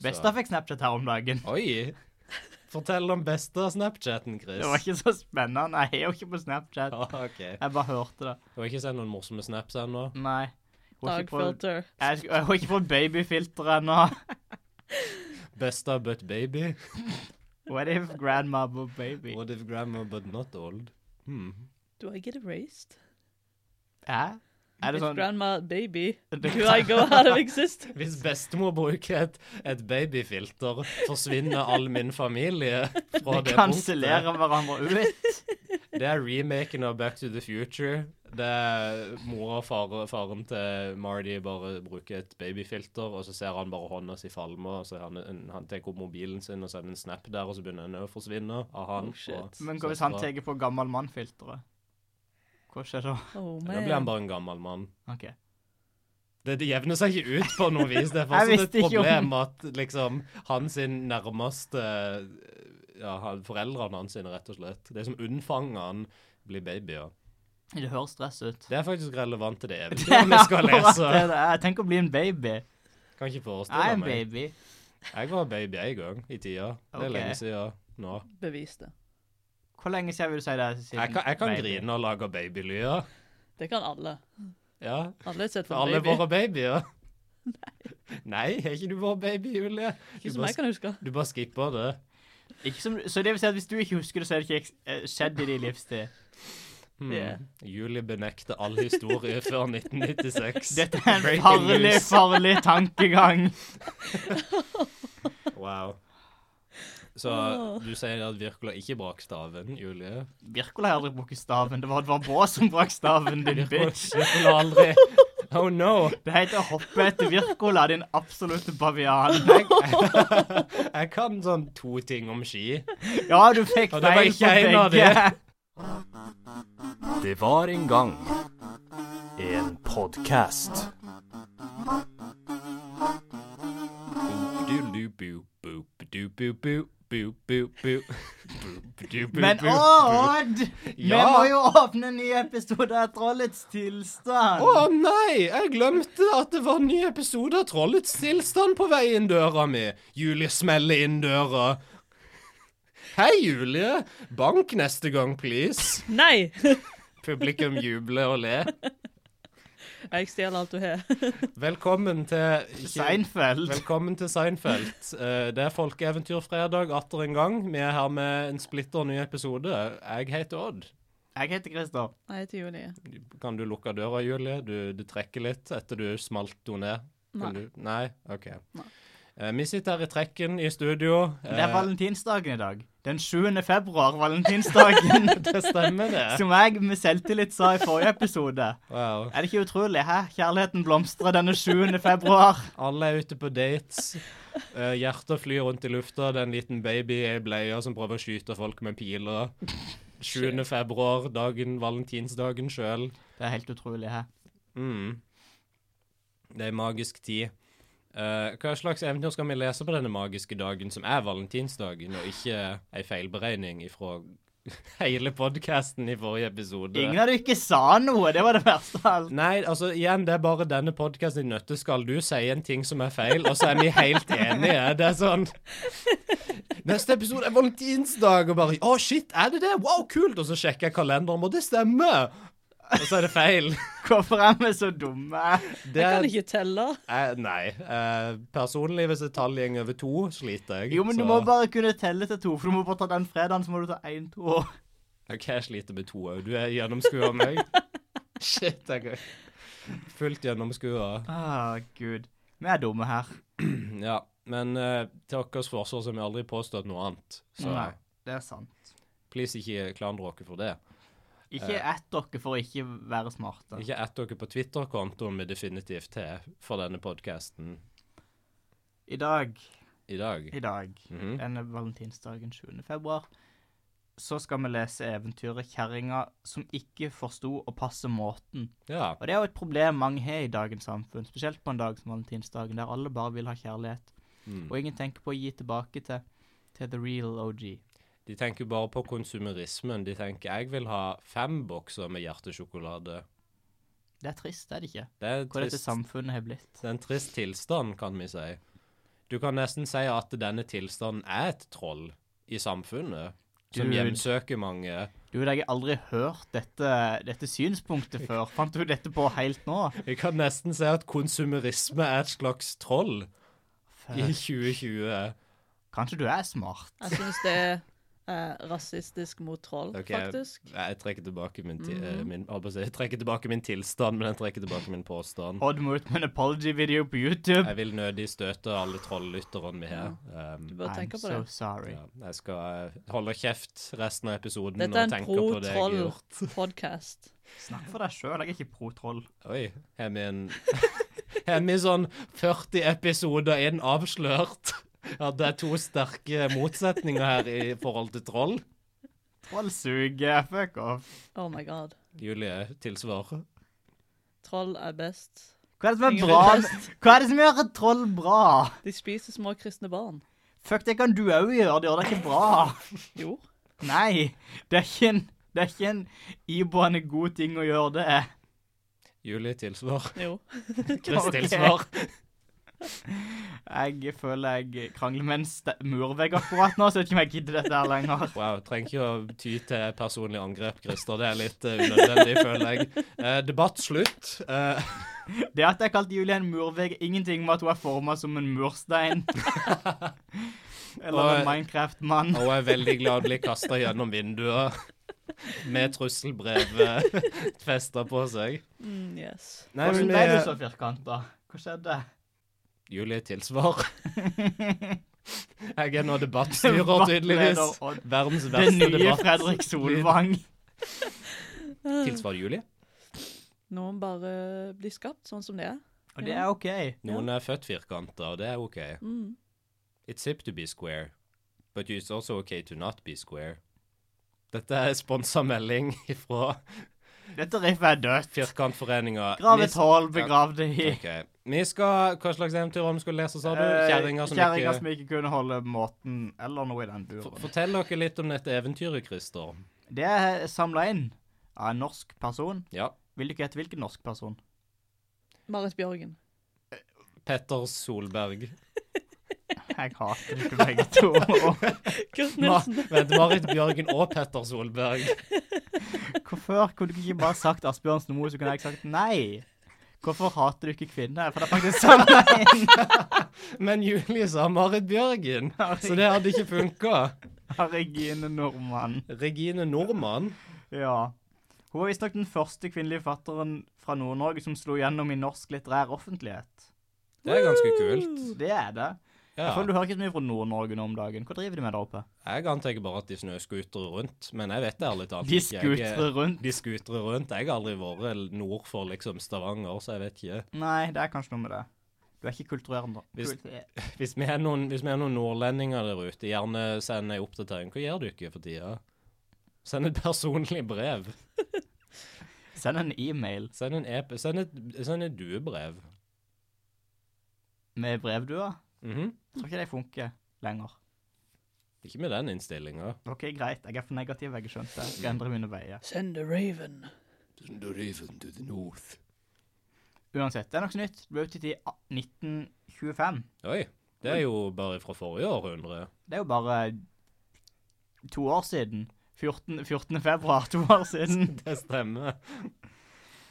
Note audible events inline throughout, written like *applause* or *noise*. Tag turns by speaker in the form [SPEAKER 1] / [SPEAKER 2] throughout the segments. [SPEAKER 1] Besta fikk Snapchat her om dagen.
[SPEAKER 2] Oi! Fortell om beste Snapchaten, Chris.
[SPEAKER 1] Det
[SPEAKER 2] *laughs*
[SPEAKER 1] var ikke så spennende. Jeg er jo ikke på Snapchat.
[SPEAKER 2] Ah, ok.
[SPEAKER 1] Jeg bare hørte det.
[SPEAKER 2] Du har ikke sendt noen morsomme snaps ennå?
[SPEAKER 1] Nei. Jeg har ikke prøvd-
[SPEAKER 3] Dagfilter.
[SPEAKER 1] Jeg sk- jeg har ikke fått babyfilter ennå.
[SPEAKER 2] Besta but baby?
[SPEAKER 1] What if grandma but baby?
[SPEAKER 2] What if grandma but not old? Hmm.
[SPEAKER 3] Do I get erased?
[SPEAKER 1] Hæ? Er det
[SPEAKER 3] If
[SPEAKER 1] sånn
[SPEAKER 3] grandma
[SPEAKER 2] *laughs*
[SPEAKER 3] baby,
[SPEAKER 1] Det
[SPEAKER 3] do I go out of existence?
[SPEAKER 2] Hvis bestemor bruker et, et babyfilter, forsvinner all min
[SPEAKER 1] *laughs*
[SPEAKER 2] familie fra det, punktet.
[SPEAKER 1] kansellerer hverandre
[SPEAKER 2] *laughs*
[SPEAKER 1] ut?
[SPEAKER 2] Det er remaken av Back to the Future. Det er mora og far, faren til Marty bare bruker et babyfilter, og så ser han bare hånda si falme, og så han, han tar opp mobilen sin og sender en snap der, og så begynner den å forsvinne av han.
[SPEAKER 3] Oh, shit.
[SPEAKER 2] og
[SPEAKER 1] Men hva hvis han
[SPEAKER 2] søstera.
[SPEAKER 1] tar på gammel mann-filteret? Hva skjer da?
[SPEAKER 3] Oh
[SPEAKER 2] Da blir han
[SPEAKER 3] man.
[SPEAKER 2] bare en gammel mann.
[SPEAKER 1] OK.
[SPEAKER 2] Det, det jevner seg ikke ut på noe vis.
[SPEAKER 1] *laughs*
[SPEAKER 2] Det er
[SPEAKER 1] Jeg
[SPEAKER 2] fortsatt
[SPEAKER 1] visste
[SPEAKER 2] et
[SPEAKER 1] ikke om-
[SPEAKER 2] problem at liksom hans sin nærmeste ja, han- Foreldrene hans, sine, rett og slett. Det som unnfanger han, blir babyer.
[SPEAKER 1] Det høres stress ut.
[SPEAKER 2] Det er faktisk relevant til det eventyret vi
[SPEAKER 1] *laughs*
[SPEAKER 2] skal lese.
[SPEAKER 1] Det er det. Jeg tenker å bli en baby.
[SPEAKER 2] Kan ikke
[SPEAKER 1] Jeg er
[SPEAKER 2] forestille
[SPEAKER 1] en
[SPEAKER 2] meg.
[SPEAKER 1] baby.
[SPEAKER 2] Jeg var baby en gang i tida. Det er
[SPEAKER 1] Ok.
[SPEAKER 2] lenge siden nå.
[SPEAKER 3] Bevis det.
[SPEAKER 1] Hvor lenge siden vil du si det? er siden
[SPEAKER 2] Jeg kan, jeg kan
[SPEAKER 1] baby?
[SPEAKER 2] grine og lage babylyder.
[SPEAKER 3] Det kan alle.
[SPEAKER 2] Ja.
[SPEAKER 3] Alle har sett
[SPEAKER 2] For
[SPEAKER 3] på
[SPEAKER 2] alle
[SPEAKER 3] en baby.
[SPEAKER 2] våre babyer. Nei, er ikke du vår baby, Julie? Du
[SPEAKER 3] Ikke som
[SPEAKER 2] bare,
[SPEAKER 3] jeg kan huske.
[SPEAKER 2] du bare skipper det.
[SPEAKER 1] Ikke som, så det vil si at hvis du ikke husker det, så er det ikke eks- eh, skjedd i din livstid.
[SPEAKER 2] Hmm.
[SPEAKER 3] Ja.
[SPEAKER 2] Julie benekter all historie før 1996.
[SPEAKER 1] Dette *laughs* er en
[SPEAKER 2] Breaking
[SPEAKER 1] farlig,
[SPEAKER 2] news.
[SPEAKER 1] farlig *laughs* tankegang.
[SPEAKER 2] Wow. Så
[SPEAKER 3] Åh.
[SPEAKER 2] du sier at Wirkola ikke brakk staven, Julie?
[SPEAKER 1] Wirkola har aldri brukket staven. Det var Edvard Baa som brakk staven, *laughs* din
[SPEAKER 2] Wirkola
[SPEAKER 1] bitch.
[SPEAKER 2] Wirkola aldri Oh no!
[SPEAKER 1] Det heter å hoppe etter Wirkola, din absolutte *laughs* bavian.
[SPEAKER 2] Jeg, *laughs* jeg kan sånn to ting om ski.
[SPEAKER 1] Ja, du fikk
[SPEAKER 2] Ja, det var
[SPEAKER 1] feil
[SPEAKER 2] ikke
[SPEAKER 1] på
[SPEAKER 2] en av
[SPEAKER 1] begge.
[SPEAKER 4] Det var en gang en podkast.
[SPEAKER 1] *laughs* Men
[SPEAKER 2] Men
[SPEAKER 1] å, Odd! Vi må jo åpne en ny episode av Trollets tilstand.
[SPEAKER 2] Å nei, jeg glemte at det var en ny episode av Trollets tilstand på vei inn døra mi. Julie smeller inn døra. Hei, Julie. Bank neste gang, please.
[SPEAKER 3] Nei! *laughs*
[SPEAKER 2] Publikum jubler og ler.
[SPEAKER 3] Jeg stjeler alt du har.
[SPEAKER 2] Velkommen til
[SPEAKER 1] Seinfeld.
[SPEAKER 2] Velkommen til Seinfeld. Eh, det er Folkeeventyrfredag atter en gang. Vi er her med en splitter ny episode. Jeg heter Odd.
[SPEAKER 1] Jeg heter Christer.
[SPEAKER 3] Jeg heter Julie.
[SPEAKER 2] Kan du lukke døra, Julie? Du, du trekker litt etter du smalt henne ned. Kan
[SPEAKER 3] Nei.
[SPEAKER 2] Du? Nei? OK.
[SPEAKER 3] Nei.
[SPEAKER 2] Eh, vi sitter her i trekken i studio.
[SPEAKER 1] Det er
[SPEAKER 2] Eh,
[SPEAKER 1] valentinsdagen i dag. Den 7. februar, valentinsdagen. *laughs*
[SPEAKER 2] det stemmer, det.
[SPEAKER 1] Som jeg med selvtillit sa i forrige episode.
[SPEAKER 2] Wow.
[SPEAKER 1] Er det ikke utrolig? Hæ? Kjærligheten blomstrer denne 7. februar.
[SPEAKER 2] Alle er ute på dates. Eh, hjerter flyr rundt i lufta. Det er en liten baby i ei bleie som prøver å skyte folk med piler. 7. februar, dagen valentinsdagen sjøl.
[SPEAKER 1] Det er helt utrolig, hæ?
[SPEAKER 2] Mm. Det er en magisk tid. Eh, hva slags eventyr skal vi lese på denne magiske dagen, som er valentinsdagen, og ikke ei feilberegning ifra *laughs* hele podkasten i forrige episode?
[SPEAKER 1] Ingen av dere ikke sa noe. Det var det verste av alt.
[SPEAKER 2] Nei, altså igjen, det er bare denne podkasten i nøtteskall. Du sier en ting som er feil, og så er vi helt enige. Det er sånn Neste episode er valentinsdag, og bare Å, shit, er det det? Wow, kult! Og så sjekker jeg kalenderen, og det stemmer! Og så er det feil.
[SPEAKER 1] Hvorfor er vi så dumme?
[SPEAKER 2] Det
[SPEAKER 3] Jeg
[SPEAKER 2] er
[SPEAKER 3] kan ikke telle.
[SPEAKER 2] Eh, nei. Eh, personlig, hvis et tall går over to, sliter jeg.
[SPEAKER 1] Jo, men du
[SPEAKER 2] så-
[SPEAKER 1] må bare kunne telle til to, for du må bare ta den fredagen, så må du ta én, to.
[SPEAKER 2] OK, jeg sliter med to òg. Du er gjennomskua meg.
[SPEAKER 1] *laughs*
[SPEAKER 2] Shit, jeg er fullt gjennomskua.
[SPEAKER 1] Å, gud. Vi er dumme her.
[SPEAKER 2] Ja. Men eh, til deres forsvar så har vi aldri påstått noe annet. Så
[SPEAKER 1] Nei, det er sant.
[SPEAKER 2] please ikke klandre dere for det.
[SPEAKER 1] Ikke
[SPEAKER 2] Eh.
[SPEAKER 1] ett dere for å ikke være smarte.
[SPEAKER 2] Ikke ett dere på Twitter-kontoen vi definitivt til for denne podkasten
[SPEAKER 1] I dag,
[SPEAKER 2] i dag.
[SPEAKER 1] i dag,
[SPEAKER 2] Mhm.
[SPEAKER 1] denne valentinsdagen 7. februar, så skal vi lese eventyret 'Kjerringa som ikke forsto å passe måten'.
[SPEAKER 2] Ja.
[SPEAKER 1] Og det er jo et problem mange har i dagens samfunn, spesielt på en dag som valentinsdagen, der alle bare vil ha kjærlighet,
[SPEAKER 2] Mm.
[SPEAKER 1] og ingen tenker på å gi tilbake til, til the real OG.
[SPEAKER 2] De tenker bare på konsumerismen. De tenker 'jeg vil ha fem bokser med hjertesjokolade'.
[SPEAKER 1] Det er trist, er det ikke?
[SPEAKER 2] Det er
[SPEAKER 1] Hvor dette
[SPEAKER 2] trist.
[SPEAKER 1] samfunnet har blitt.
[SPEAKER 2] Det er en trist tilstand, kan vi si. Du kan nesten si at denne tilstanden er et troll i samfunnet, som
[SPEAKER 1] Dude.
[SPEAKER 2] hjemsøker mange.
[SPEAKER 1] Du, jeg har aldri hørt dette, dette
[SPEAKER 3] *laughs*
[SPEAKER 1] synspunktet før. Fant du dette på helt nå?
[SPEAKER 2] Jeg kan nesten si at konsumerisme er et slags troll i
[SPEAKER 1] Fuck.
[SPEAKER 2] 2020.
[SPEAKER 1] Kanskje du er smart?
[SPEAKER 3] Jeg syns det er eh, rasistisk mot troll,
[SPEAKER 2] Ok.
[SPEAKER 3] faktisk.
[SPEAKER 2] Nei, Jeg trekker tilbake min, ti
[SPEAKER 3] Mm.
[SPEAKER 2] eh, min, holdt på å si, jeg trekker tilbake min tilstand, men jeg trekker tilbake min påstand.
[SPEAKER 1] Odd må ut med en apology-video på YouTube.
[SPEAKER 2] Jeg vil nødig støte alle trolllytterne vi har. Um,
[SPEAKER 3] Du bør tenke på det.
[SPEAKER 1] so sorry.
[SPEAKER 2] ja, jeg skal eh, holde kjeft resten av episoden
[SPEAKER 3] Dette er
[SPEAKER 2] og
[SPEAKER 3] en
[SPEAKER 2] tenke på det jeg har gjort.
[SPEAKER 3] pro-troll-podkast.
[SPEAKER 1] Snakk for deg sjøl, jeg er ikke pro-troll.
[SPEAKER 2] Oi, har vi *laughs* en Har vi sånn 40 episoder inn avslørt? At det er to sterke motsetninger her i forhold til troll?
[SPEAKER 1] Troll suger, fuck off.
[SPEAKER 3] Oh my god.
[SPEAKER 2] Julie, tilsvar.
[SPEAKER 3] Troll er best.
[SPEAKER 1] Hva er det som er
[SPEAKER 3] Ingen
[SPEAKER 1] bra
[SPEAKER 3] er
[SPEAKER 1] med, Hva er det som gjør et troll bra?
[SPEAKER 3] De spiser små kristne barn.
[SPEAKER 1] Fuck, det kan du òg gjøre, det gjør deg ikke bra.
[SPEAKER 3] Jo.
[SPEAKER 1] Nei, det er ikke en, det er ikke en iboende god ting å gjøre det.
[SPEAKER 2] Julie, tilsvar.
[SPEAKER 3] Jo.
[SPEAKER 2] Chris,
[SPEAKER 1] Ok.
[SPEAKER 2] tilsvar.
[SPEAKER 1] Jeg føler jeg krangler med en ste- murvegg akkurat nå, så jeg vet ikke om jeg gidder dette her lenger.
[SPEAKER 2] Wow, trenger ikke å ty til personlig angrep, Christer. Det er litt eh, unødvendig, føler jeg. Eh, debatt slutt. Eh,
[SPEAKER 1] Det at jeg kalte Julie en murvegg, er ingenting med at hun er forma som en
[SPEAKER 2] *laughs*
[SPEAKER 1] murstein. Eller en
[SPEAKER 2] Og-
[SPEAKER 1] Minecraft-mann.
[SPEAKER 2] og jeg er veldig glad å bli kasta gjennom vinduet med trusselbrevet festa på seg.
[SPEAKER 3] Mm, yes.
[SPEAKER 2] Nei,
[SPEAKER 1] Hvordan
[SPEAKER 2] men,
[SPEAKER 1] ble du
[SPEAKER 2] eh,
[SPEAKER 1] så firkanta? Hva skjedde?
[SPEAKER 2] Julie, tilsvar. Jeg er nå debattstyrer, tydeligvis.
[SPEAKER 1] Debattleder Odd.
[SPEAKER 2] Verdens
[SPEAKER 1] Den
[SPEAKER 2] verste
[SPEAKER 1] nye
[SPEAKER 2] debatt.
[SPEAKER 1] Fredrik Solvang.
[SPEAKER 2] Tilsvar Julie.
[SPEAKER 3] Noen bare blir skapt sånn som det er.
[SPEAKER 1] Og det er OK.
[SPEAKER 2] Noen er født firkanta, og det er OK.
[SPEAKER 3] Mm.
[SPEAKER 2] It's hip to be square, but it's also OK to not be square. Dette er sponsa melding fra
[SPEAKER 1] Dette riffet er dødt.
[SPEAKER 2] Firkantforeninga.
[SPEAKER 1] Grav
[SPEAKER 2] Vi-
[SPEAKER 1] et hull, begrav det i.
[SPEAKER 2] Ok. Vi skal Hva slags eventyr var det vi skulle lese, sa du?
[SPEAKER 1] Eh,
[SPEAKER 2] Kjerringa som
[SPEAKER 1] kjerringer
[SPEAKER 2] ikke
[SPEAKER 1] som ikke kunne holde måten, eller noe i den
[SPEAKER 2] F-
[SPEAKER 1] duren.
[SPEAKER 2] Fortell dere litt om dette eventyret, Christer.
[SPEAKER 1] Det er samla inn av en norsk person.
[SPEAKER 2] Ja.
[SPEAKER 1] Vil du ikke gjette hvilken norsk person?
[SPEAKER 3] Marit Bjørgen.
[SPEAKER 2] Petter
[SPEAKER 1] *laughs*
[SPEAKER 2] Solberg.
[SPEAKER 1] Jeg hater dere begge
[SPEAKER 2] *laughs*
[SPEAKER 1] to.
[SPEAKER 3] *laughs* Kurt
[SPEAKER 2] Ma
[SPEAKER 3] Nilsen.
[SPEAKER 2] Vent, Marit Bjørgen og Petter Solberg.
[SPEAKER 1] Hvorfor kunne du ikke bare sagt Asbjørnsen og Moe, så kunne jeg sagt nei? Hvorfor hater du ikke kvinner? For det er faktisk samla inn.
[SPEAKER 2] Men Julie sa Marit Bjørgen, *laughs*
[SPEAKER 1] *laughs*
[SPEAKER 2] så
[SPEAKER 1] av
[SPEAKER 2] det hadde ikke funka.
[SPEAKER 1] Regine Normann.
[SPEAKER 2] Regine Normann.
[SPEAKER 1] Ja. Hun var visstnok den første kvinnelige fatteren fra Nord-Norge som slo gjennom i norsk litterær offentlighet.
[SPEAKER 2] Det er ganske kult.
[SPEAKER 1] Det er det. Jeg
[SPEAKER 2] Ja.
[SPEAKER 1] føler du hører ikke så mye fra Nord-Norge nå om dagen. Hva driver de med der oppe?
[SPEAKER 2] Jeg antar bare at de snøscooterer rundt, men jeg vet det ærlig talt
[SPEAKER 1] De
[SPEAKER 2] ikke. Jeg-
[SPEAKER 1] skutrer rundt.
[SPEAKER 2] De scooterer rundt. Jeg har aldri vært nord for liksom Stavanger, så jeg vet ikke.
[SPEAKER 1] Nei, det er kanskje noe med det. Du er ikke kulturerende.
[SPEAKER 2] Hvis-
[SPEAKER 1] Kul-
[SPEAKER 2] Hvis vi er noen, hvis vi er noen nordlendinger der ute, gjerne send ei oppdatering. Hva gjør du ikke for tida? Send et personlig brev.
[SPEAKER 1] Send en e-mail
[SPEAKER 2] Send, en ep send, et, send et duebrev.
[SPEAKER 1] med brevdua.
[SPEAKER 2] Mhm.
[SPEAKER 1] Tror ikke det funker lenger.
[SPEAKER 2] Ikke med den innstillinga.
[SPEAKER 1] OK, greit. Jeg er for negativ, jeg har skjønt det. Jeg skal endre mine veier.
[SPEAKER 3] Send a raven.
[SPEAKER 1] Uansett, det er noe nytt. Det ble utgitt i a- 1925.
[SPEAKER 2] Oi. Det er jo bare fra forrige århundre.
[SPEAKER 1] Det er jo bare to år siden. 14. 14. februar, to år
[SPEAKER 2] *laughs*
[SPEAKER 1] siden.
[SPEAKER 2] Det stemmer.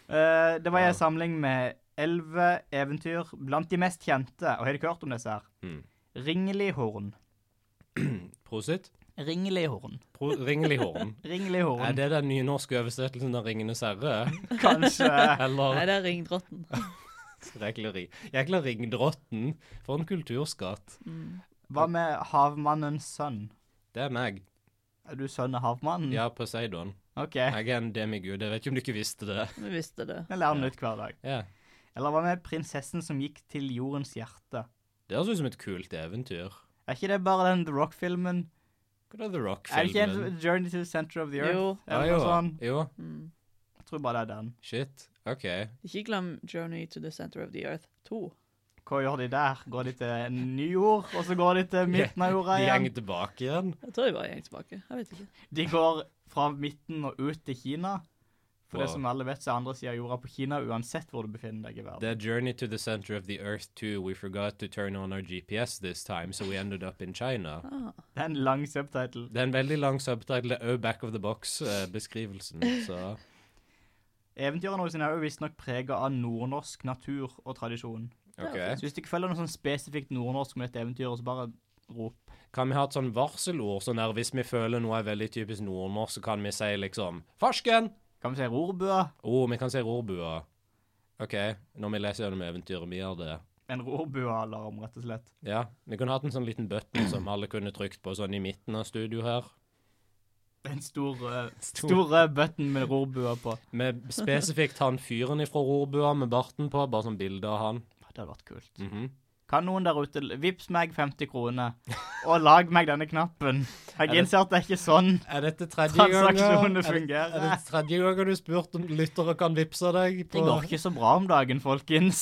[SPEAKER 1] Eh, det var
[SPEAKER 2] Ja.
[SPEAKER 1] en samling med elleve eventyr blant de mest kjente. Og har dere hørt om disse her?
[SPEAKER 2] Mm.
[SPEAKER 1] Ringelihorn.
[SPEAKER 2] Prosit.
[SPEAKER 1] Ringelihorn.
[SPEAKER 2] Pro Ringelihorn. Er
[SPEAKER 1] Ringelihorn.
[SPEAKER 2] det den nynorske oversettelsen av 'Ringenes herre'?
[SPEAKER 1] Kanskje
[SPEAKER 3] Nei,
[SPEAKER 2] Eller
[SPEAKER 3] det er Ringdrotten.
[SPEAKER 2] regleri? Jækla ringdrotten. For en kulturskatt.
[SPEAKER 3] Mm.
[SPEAKER 1] Hva med Havmannens sønn?
[SPEAKER 2] Det er meg.
[SPEAKER 1] Er du sønn av havmannen?
[SPEAKER 2] Ja, Poseidon.
[SPEAKER 1] OK.
[SPEAKER 2] Jeg er en demigud. Jeg vet ikke om du ikke visste det.
[SPEAKER 3] Vi visste det.
[SPEAKER 1] Jeg lærer nytt hver dag.
[SPEAKER 2] Ja.
[SPEAKER 1] Eller hva med prinsessen som gikk til jordens hjerte?
[SPEAKER 2] Det høres ut som et kult eventyr.
[SPEAKER 1] Er ikke det bare den The Rock-filmen?
[SPEAKER 2] Hva
[SPEAKER 1] Er
[SPEAKER 2] er The
[SPEAKER 1] det ikke en
[SPEAKER 2] Rock-filmen?
[SPEAKER 1] Journey to the Center of the Earth?
[SPEAKER 3] Jo.
[SPEAKER 2] Ja,
[SPEAKER 1] Eller
[SPEAKER 2] jo.
[SPEAKER 1] noe sånn?
[SPEAKER 2] jo.
[SPEAKER 3] Mm.
[SPEAKER 1] Jeg tror bare det er den.
[SPEAKER 2] Shit. OK.
[SPEAKER 3] Ikke glem Journey to the Center of the Earth 2.
[SPEAKER 1] Hva gjør de der? Går de til nyord, og så går de til midten av jorda
[SPEAKER 2] De
[SPEAKER 1] igjen?
[SPEAKER 2] henger tilbake igjen.
[SPEAKER 3] Jeg tror jeg bare gikk tilbake. Jeg vet ikke.
[SPEAKER 1] De går fra midten og ut til Kina, For det som alle vet, så er andre sida av jorda på Kina uansett hvor du befinner deg i verden.
[SPEAKER 2] The journey to the center of the earth too. We forgot to turn on our GPS this time, so we ended up in China.
[SPEAKER 3] Ah.
[SPEAKER 1] Det er en lang subtitle.
[SPEAKER 2] Det er en veldig lang subtitle, det er òg back of the box-beskrivelsen,
[SPEAKER 1] *laughs*
[SPEAKER 2] så
[SPEAKER 1] Eventyrene hos henne er jo visstnok prega av nordnorsk natur og tradisjon.
[SPEAKER 2] OK.
[SPEAKER 1] Så hvis du ikke følger noe sånn spesifikt nordnorsk med dette eventyret, så bare rop.
[SPEAKER 2] Kan vi ha et sånn varselord, sånn der hvis vi føler noe er veldig typisk nordnorsk, så kan vi si liksom Farsken!
[SPEAKER 1] Kan vi si rorbua?
[SPEAKER 2] Å, vi kan si rorbua. OK, når vi leser gjennom eventyret, vi gjør det.
[SPEAKER 1] En rorbua-alarm, rett og slett.
[SPEAKER 2] Ja, vi kunne hatt en sånn liten button som alle kunne trykt på sånn i midten av studio her.
[SPEAKER 1] En stor, eh, stor rød button med rorbua på.
[SPEAKER 2] *laughs* Med spesifikt han fyren ifra rorbua med barten på, bare sånn bilde av han.
[SPEAKER 1] Det hadde vært kult.
[SPEAKER 2] Mhm.
[SPEAKER 1] Kan noen der ute Vips meg 50 kroner, og lag meg denne knappen.
[SPEAKER 2] Er det-
[SPEAKER 1] Jeg innser at det er ikke sånn
[SPEAKER 2] Er dette tredje gangen?
[SPEAKER 1] transaksjonene
[SPEAKER 2] Er det, er
[SPEAKER 1] fungerer.
[SPEAKER 2] det tredje gangen du spurte om lyttere kan vippse deg?
[SPEAKER 1] Det går ikke så bra om dagen, folkens.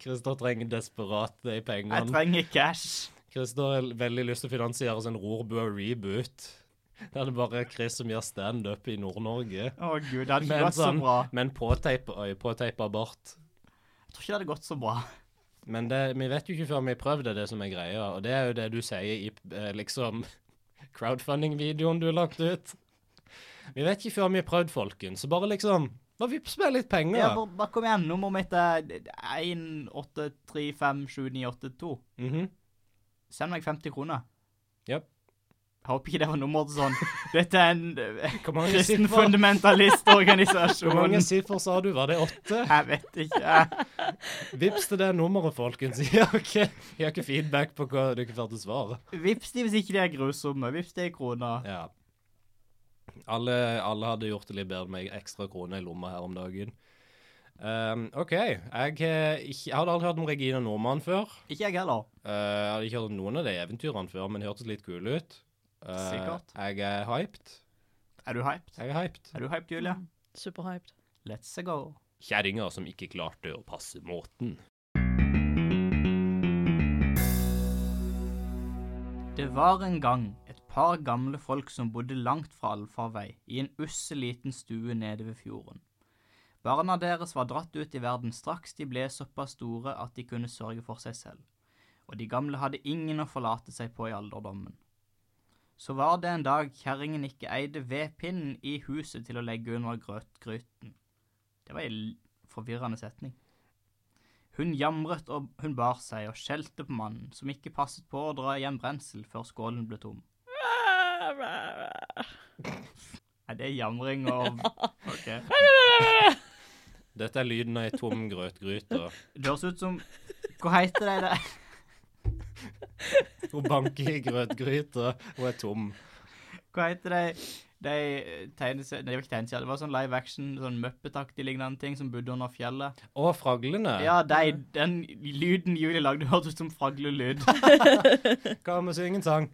[SPEAKER 2] Christer trenger desperat de
[SPEAKER 1] Jeg
[SPEAKER 2] pengene.
[SPEAKER 1] trenger cash.
[SPEAKER 2] Christer har veldig lyst til å finansiere sin rorbua reboot. *laughs* Der det bare er Chris som gjør standup i Nord-Norge.
[SPEAKER 1] Å gud, det hadde ikke
[SPEAKER 2] Men
[SPEAKER 1] gått så
[SPEAKER 2] sånn-
[SPEAKER 1] bra.
[SPEAKER 2] Men påteipa påteipa bart.
[SPEAKER 1] Jeg tror ikke det hadde gått så bra.
[SPEAKER 2] Men det, vi vet jo ikke før vi har prøvd det, er det som er greia. Og det er jo det du sier i eh, liksom *laughs* crowdfunding-videoen du har lagt ut. Vi vet ikke før vi har prøvd, folkens. Så bare liksom Bare vips med litt penger.
[SPEAKER 1] Ja, bare, bare kom igjen. Nummeret mitt er 183579892.
[SPEAKER 2] Mhm.
[SPEAKER 1] Send meg 50 kroner.
[SPEAKER 2] Japp.
[SPEAKER 1] Jeg håper ikke det var nummeret til sånn. *laughs* Dette er en eh,
[SPEAKER 2] Hvor mange
[SPEAKER 1] kristen
[SPEAKER 2] siffer- hvor
[SPEAKER 1] fundamentalistorganisasjon.
[SPEAKER 2] mange siffer sa du? Var det åtte?
[SPEAKER 1] *laughs* Jeg vet ikke. Eh, jeg.
[SPEAKER 2] Vips til det nummeret, folkens. *laughs* Jeg har ikke, jeg har ikke feedback på hva dere får til svar.
[SPEAKER 1] Vips de hvis ikke de er grusomme. Vips de i kroner.
[SPEAKER 2] Ja. Alle, alle hadde gjort det litt bedre med ekstra kroner i lomma her om dagen. Um, OK. Jeg, har ikke, jeg hadde aldri hørt om Regina Nordmann før.
[SPEAKER 1] Ikke jeg heller.
[SPEAKER 2] Uh, jeg hadde ikke hørt om noen av de eventyrene før, men de hørtes litt kule ut. Uh,
[SPEAKER 1] Sikkert.
[SPEAKER 2] Jeg er hyped.
[SPEAKER 1] Er du hyped?
[SPEAKER 2] Jeg er hyped.
[SPEAKER 1] Er du hyped, Julie?
[SPEAKER 3] *laughs* Superhyped.
[SPEAKER 1] Let's go.
[SPEAKER 2] Kjerringer som ikke klarte å passe måten.
[SPEAKER 1] Det var en gang et par gamle folk som bodde langt fra allfarvei, i en ussel liten stue nede ved fjorden. Barna deres var dratt ut i verden straks de ble såpass store at de kunne sørge for seg selv, og de gamle hadde ingen å forlate seg på i alderdommen. Så var det en dag kjerringen ikke eide vedpinnen i huset til å legge under grøtgryten. Det var en forvirrende setning. Hun jamret og hun bar seg og skjelte på mannen, som ikke passet på å dra hjem brensel før skålen ble tom. Er det jamring og OK.
[SPEAKER 2] Dette er lyden av ei
[SPEAKER 1] *laughs*
[SPEAKER 2] tom grøtgryte.
[SPEAKER 1] Det høres ut som Hva heter det der?
[SPEAKER 2] Hun banker i grøtgryta og er tom.
[SPEAKER 1] Hva heter det de tegneseriene Nei, det var ikke tegneserier. Det var sånn live action, sånn muppetaktig lignende ting som bodde under fjellet.
[SPEAKER 2] Og fraglene.
[SPEAKER 1] Ja, de, den lyden Julie lagde, hørtes ut som fraglelyd.
[SPEAKER 2] Kan vi synge en sang?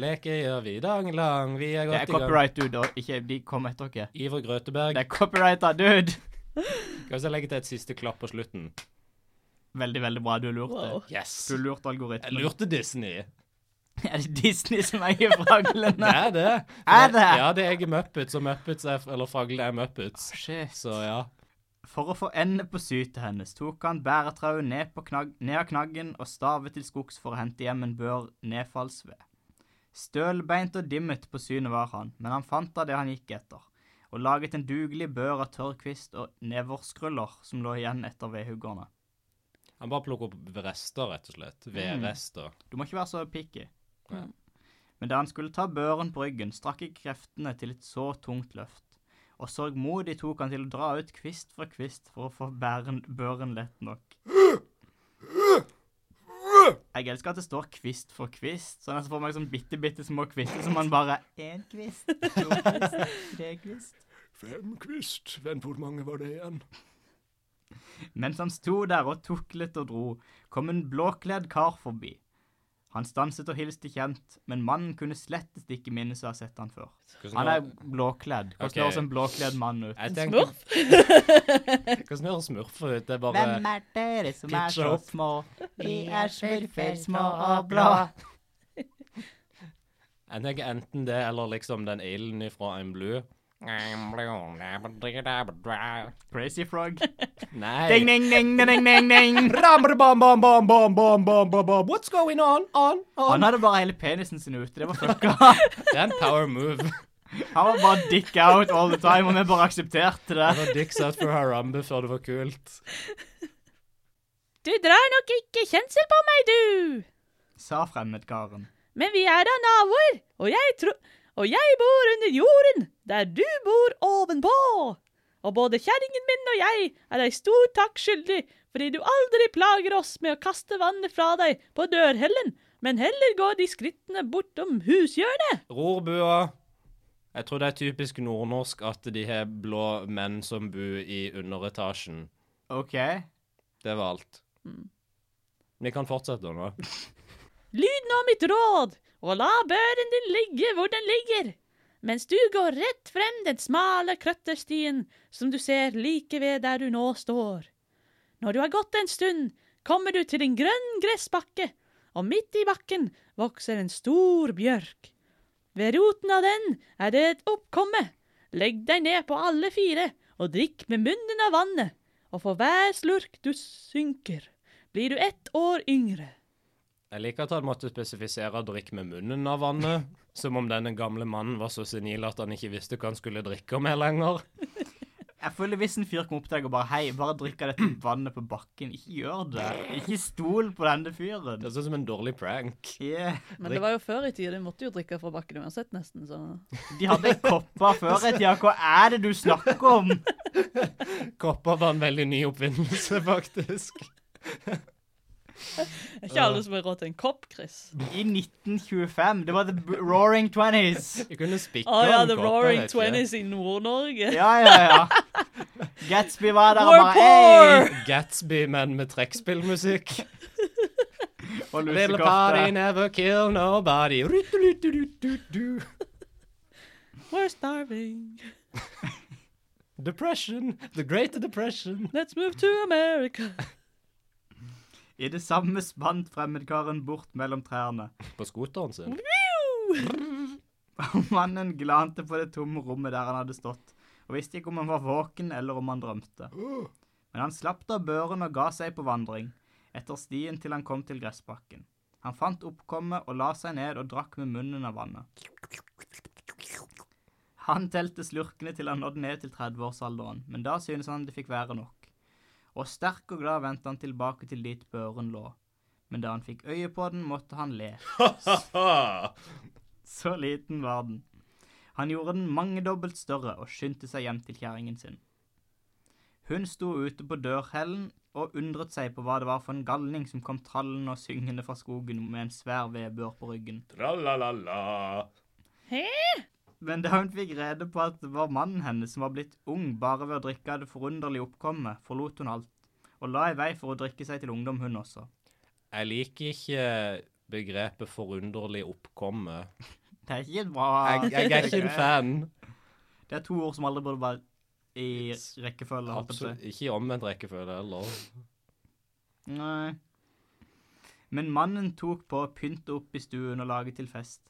[SPEAKER 2] Leke gjør vi dang lang, vi
[SPEAKER 1] Det
[SPEAKER 2] er
[SPEAKER 1] er
[SPEAKER 2] godt i gang.
[SPEAKER 1] copyright, dude. Og ikke de kom etter dere.
[SPEAKER 2] Iver Grøteberg.
[SPEAKER 1] Det er copyrighta, dude.
[SPEAKER 2] Skal vi legge til et siste klapp på slutten?
[SPEAKER 1] Veldig, veldig bra. Du lurte.
[SPEAKER 3] Wow.
[SPEAKER 2] Yes!
[SPEAKER 1] Du lurte
[SPEAKER 2] Jeg
[SPEAKER 1] algoritmen.
[SPEAKER 2] lurte Disney.
[SPEAKER 1] *laughs* Er det Disney som eier fraglene?
[SPEAKER 2] Det er det.
[SPEAKER 1] Er det?
[SPEAKER 2] Ja, det er jeg i Muppets, og Muppets er, eller fraglene er Muppets.
[SPEAKER 1] Shit.
[SPEAKER 2] Så ja.
[SPEAKER 1] For å få ende på sytet hennes tok han bæretrauet ned, på knag ned av knaggen og stavet til skogs for å hente hjem en bør nedfallsved. Stølbeint og dimmet på synet var han, men han fant av det han gikk etter, og laget en dugelig bør av tørr kvist og neverskruller som lå igjen etter vedhuggerne.
[SPEAKER 2] Han bare plukker opp rester, rett og slett.
[SPEAKER 1] Mm.
[SPEAKER 2] Vedrester.
[SPEAKER 1] Du må ikke være så picky.
[SPEAKER 2] Nei.
[SPEAKER 1] Men da han skulle ta børen på ryggen, strakk ikke kreftene til et så tungt løft. Og sorgmodig tok han til å dra ut kvist for kvist for å få bæren, børen lett nok. Jeg elsker at det står kvist for kvist, så jeg nesten får meg sånn bitte, bitte små kvister som man bare Én kvist, to kvist, tre kvist.
[SPEAKER 2] Fem kvist. Vent, hvor mange var det igjen?
[SPEAKER 1] Mens han sto der og tuklet og dro, kom en blåkledd kar forbi. Han stanset og hilste kjent, men mannen kunne slett ikke minnes å ha sett han før. Han er blåkledd. Hvordan
[SPEAKER 2] Ok.
[SPEAKER 1] høres en blåkledd mann ut?
[SPEAKER 2] Jeg tenker, *laughs*
[SPEAKER 3] Smurf?
[SPEAKER 2] Hvordan høres smurf ut? Det er bare
[SPEAKER 1] er dere som
[SPEAKER 2] er så Ketchup.
[SPEAKER 1] små?
[SPEAKER 3] Vi er smurfer, små og blå.
[SPEAKER 2] Jeg tenker enten det eller liksom den ilden ifra I'm Blue.
[SPEAKER 1] Crazy Frog. Ding,
[SPEAKER 2] Nei.
[SPEAKER 1] ding, ding, ding, ding,
[SPEAKER 2] *laughs*
[SPEAKER 1] ding.
[SPEAKER 2] Ram-bam-bam-bam-bam-bam-bam-bam. What's going on? On,
[SPEAKER 1] Han
[SPEAKER 2] on.
[SPEAKER 1] hadde bare hele penisen sin ute. Det var fucka.
[SPEAKER 2] Det er en power move.
[SPEAKER 1] Han var bare dick out all the time, og vi bare aksepterte
[SPEAKER 2] Det
[SPEAKER 1] det.
[SPEAKER 2] var dicks out for Harambe før det var kult.
[SPEAKER 3] Du drar nok ikke kjensel på meg, du.
[SPEAKER 1] Sa fremmedkaren.
[SPEAKER 3] Men vi er da naboer, og jeg tro... Og jeg bor under jorden, der du bor ovenpå. Og både kjerringen min og jeg er deg stor takk skyldig, fordi du aldri plager oss med å kaste vannet fra deg på dørhellen, men heller går de skrittene bortom hushjørnet.
[SPEAKER 2] Rorbua. Jeg tror det er typisk nordnorsk at de har blå menn som bor i underetasjen.
[SPEAKER 1] OK.
[SPEAKER 2] Det var alt. Vi kan fortsette nå.
[SPEAKER 3] Lyd nå mitt råd, og la børen din ligge hvor den ligger, mens du går rett frem den smale krøtterstien som du ser like ved der du nå står. Når du har gått en stund, kommer du til en grønn gressbakke, og midt i bakken vokser en stor bjørk. Ved roten av den er det et oppkomme. Legg deg ned på alle fire og drikk med munnen av vannet, og for hver slurk du synker, blir du ett år yngre.
[SPEAKER 2] Jeg liker at han måtte spesifisere drikk med munnen av vannet, som om denne gamle mannen var så senil at han ikke visste hva han skulle drikke med lenger.
[SPEAKER 1] Jeg føler Hvis en fyr kom opp til deg og bare Hei, bare drikk av dette vannet på bakken. Ikke gjør det. Ikke stol på denne fyren.
[SPEAKER 2] Det er sånn som en dårlig prank.
[SPEAKER 1] Yeah.
[SPEAKER 3] Men det var jo før i tida. De måtte jo drikke fra bakken uansett, nesten. Så.
[SPEAKER 1] De hadde kopper før i tida. Hva er det du snakker om?
[SPEAKER 2] Kopper var en veldig ny oppfinnelse, *laughs* faktisk.
[SPEAKER 3] Det er ikke alle som har råd til en kopp, Chris.
[SPEAKER 1] I 1925. Det var the b- roaring twenties.
[SPEAKER 2] Jeg kunne spikke
[SPEAKER 3] Å Ah, ja,
[SPEAKER 2] en
[SPEAKER 3] The
[SPEAKER 2] kopp,
[SPEAKER 3] Roaring
[SPEAKER 2] jeg vet ikke.
[SPEAKER 3] Twenties i Nord-Norge.
[SPEAKER 1] Ja, ja, ja. Gatsby var der og
[SPEAKER 3] We're
[SPEAKER 1] bare
[SPEAKER 3] poor!
[SPEAKER 1] Hei!
[SPEAKER 2] Gatsby, men med trekkspillmusikk.
[SPEAKER 1] Og
[SPEAKER 2] Little party
[SPEAKER 1] lusekofte.
[SPEAKER 2] never kill nobody. Ruturuturututu.
[SPEAKER 3] We're starving.
[SPEAKER 2] Depression. The Great Depression.
[SPEAKER 3] Let's move to America. *laughs*
[SPEAKER 1] I det samme spant fremmedkaren bort mellom trærne.
[SPEAKER 2] På skoteren sin.
[SPEAKER 1] Og *laughs* Mannen glante på det tomme rommet der han hadde stått, og visste ikke om han var våken eller om han drømte. Men han slapp da børen og ga seg på vandring, etter stien til han kom til gressbakken. Han fant oppkommet og la seg ned og drakk med munnen av vannet. Han telte slurkene til han nådde ned til 30-årsalderen, men da syntes han det fikk være nok. Og sterk og glad vendte han tilbake til dit børen lå. Men da han fikk øye på den, måtte han le. Så liten var den. Han gjorde den mangedobbelt større og skyndte seg hjem til kjerringen sin. Hun sto ute på dørhellen og undret seg på hva det var for en galning som kom trallende og syngende fra skogen med en svær vedbør på ryggen.
[SPEAKER 2] Tra-la-la-la.
[SPEAKER 1] Men da hun fikk rede på at det var mannen hennes som var blitt ung bare ved å drikke av det forunderlige oppkommet, forlot hun alt, og la i vei for å drikke seg til ungdom hun også.
[SPEAKER 2] Jeg liker ikke begrepet forunderlig oppkomme.
[SPEAKER 1] Det er ikke et bra
[SPEAKER 2] Jeg, jeg er
[SPEAKER 1] *laughs*
[SPEAKER 2] ikke en fan.
[SPEAKER 1] Det er to ord som aldri burde være i rekkefølge. holdt jeg på å si.
[SPEAKER 2] Absolutt ikke i omvendt rekkefølge heller.
[SPEAKER 1] Nei. Men mannen tok på å pynte opp i stuen og lage til fest.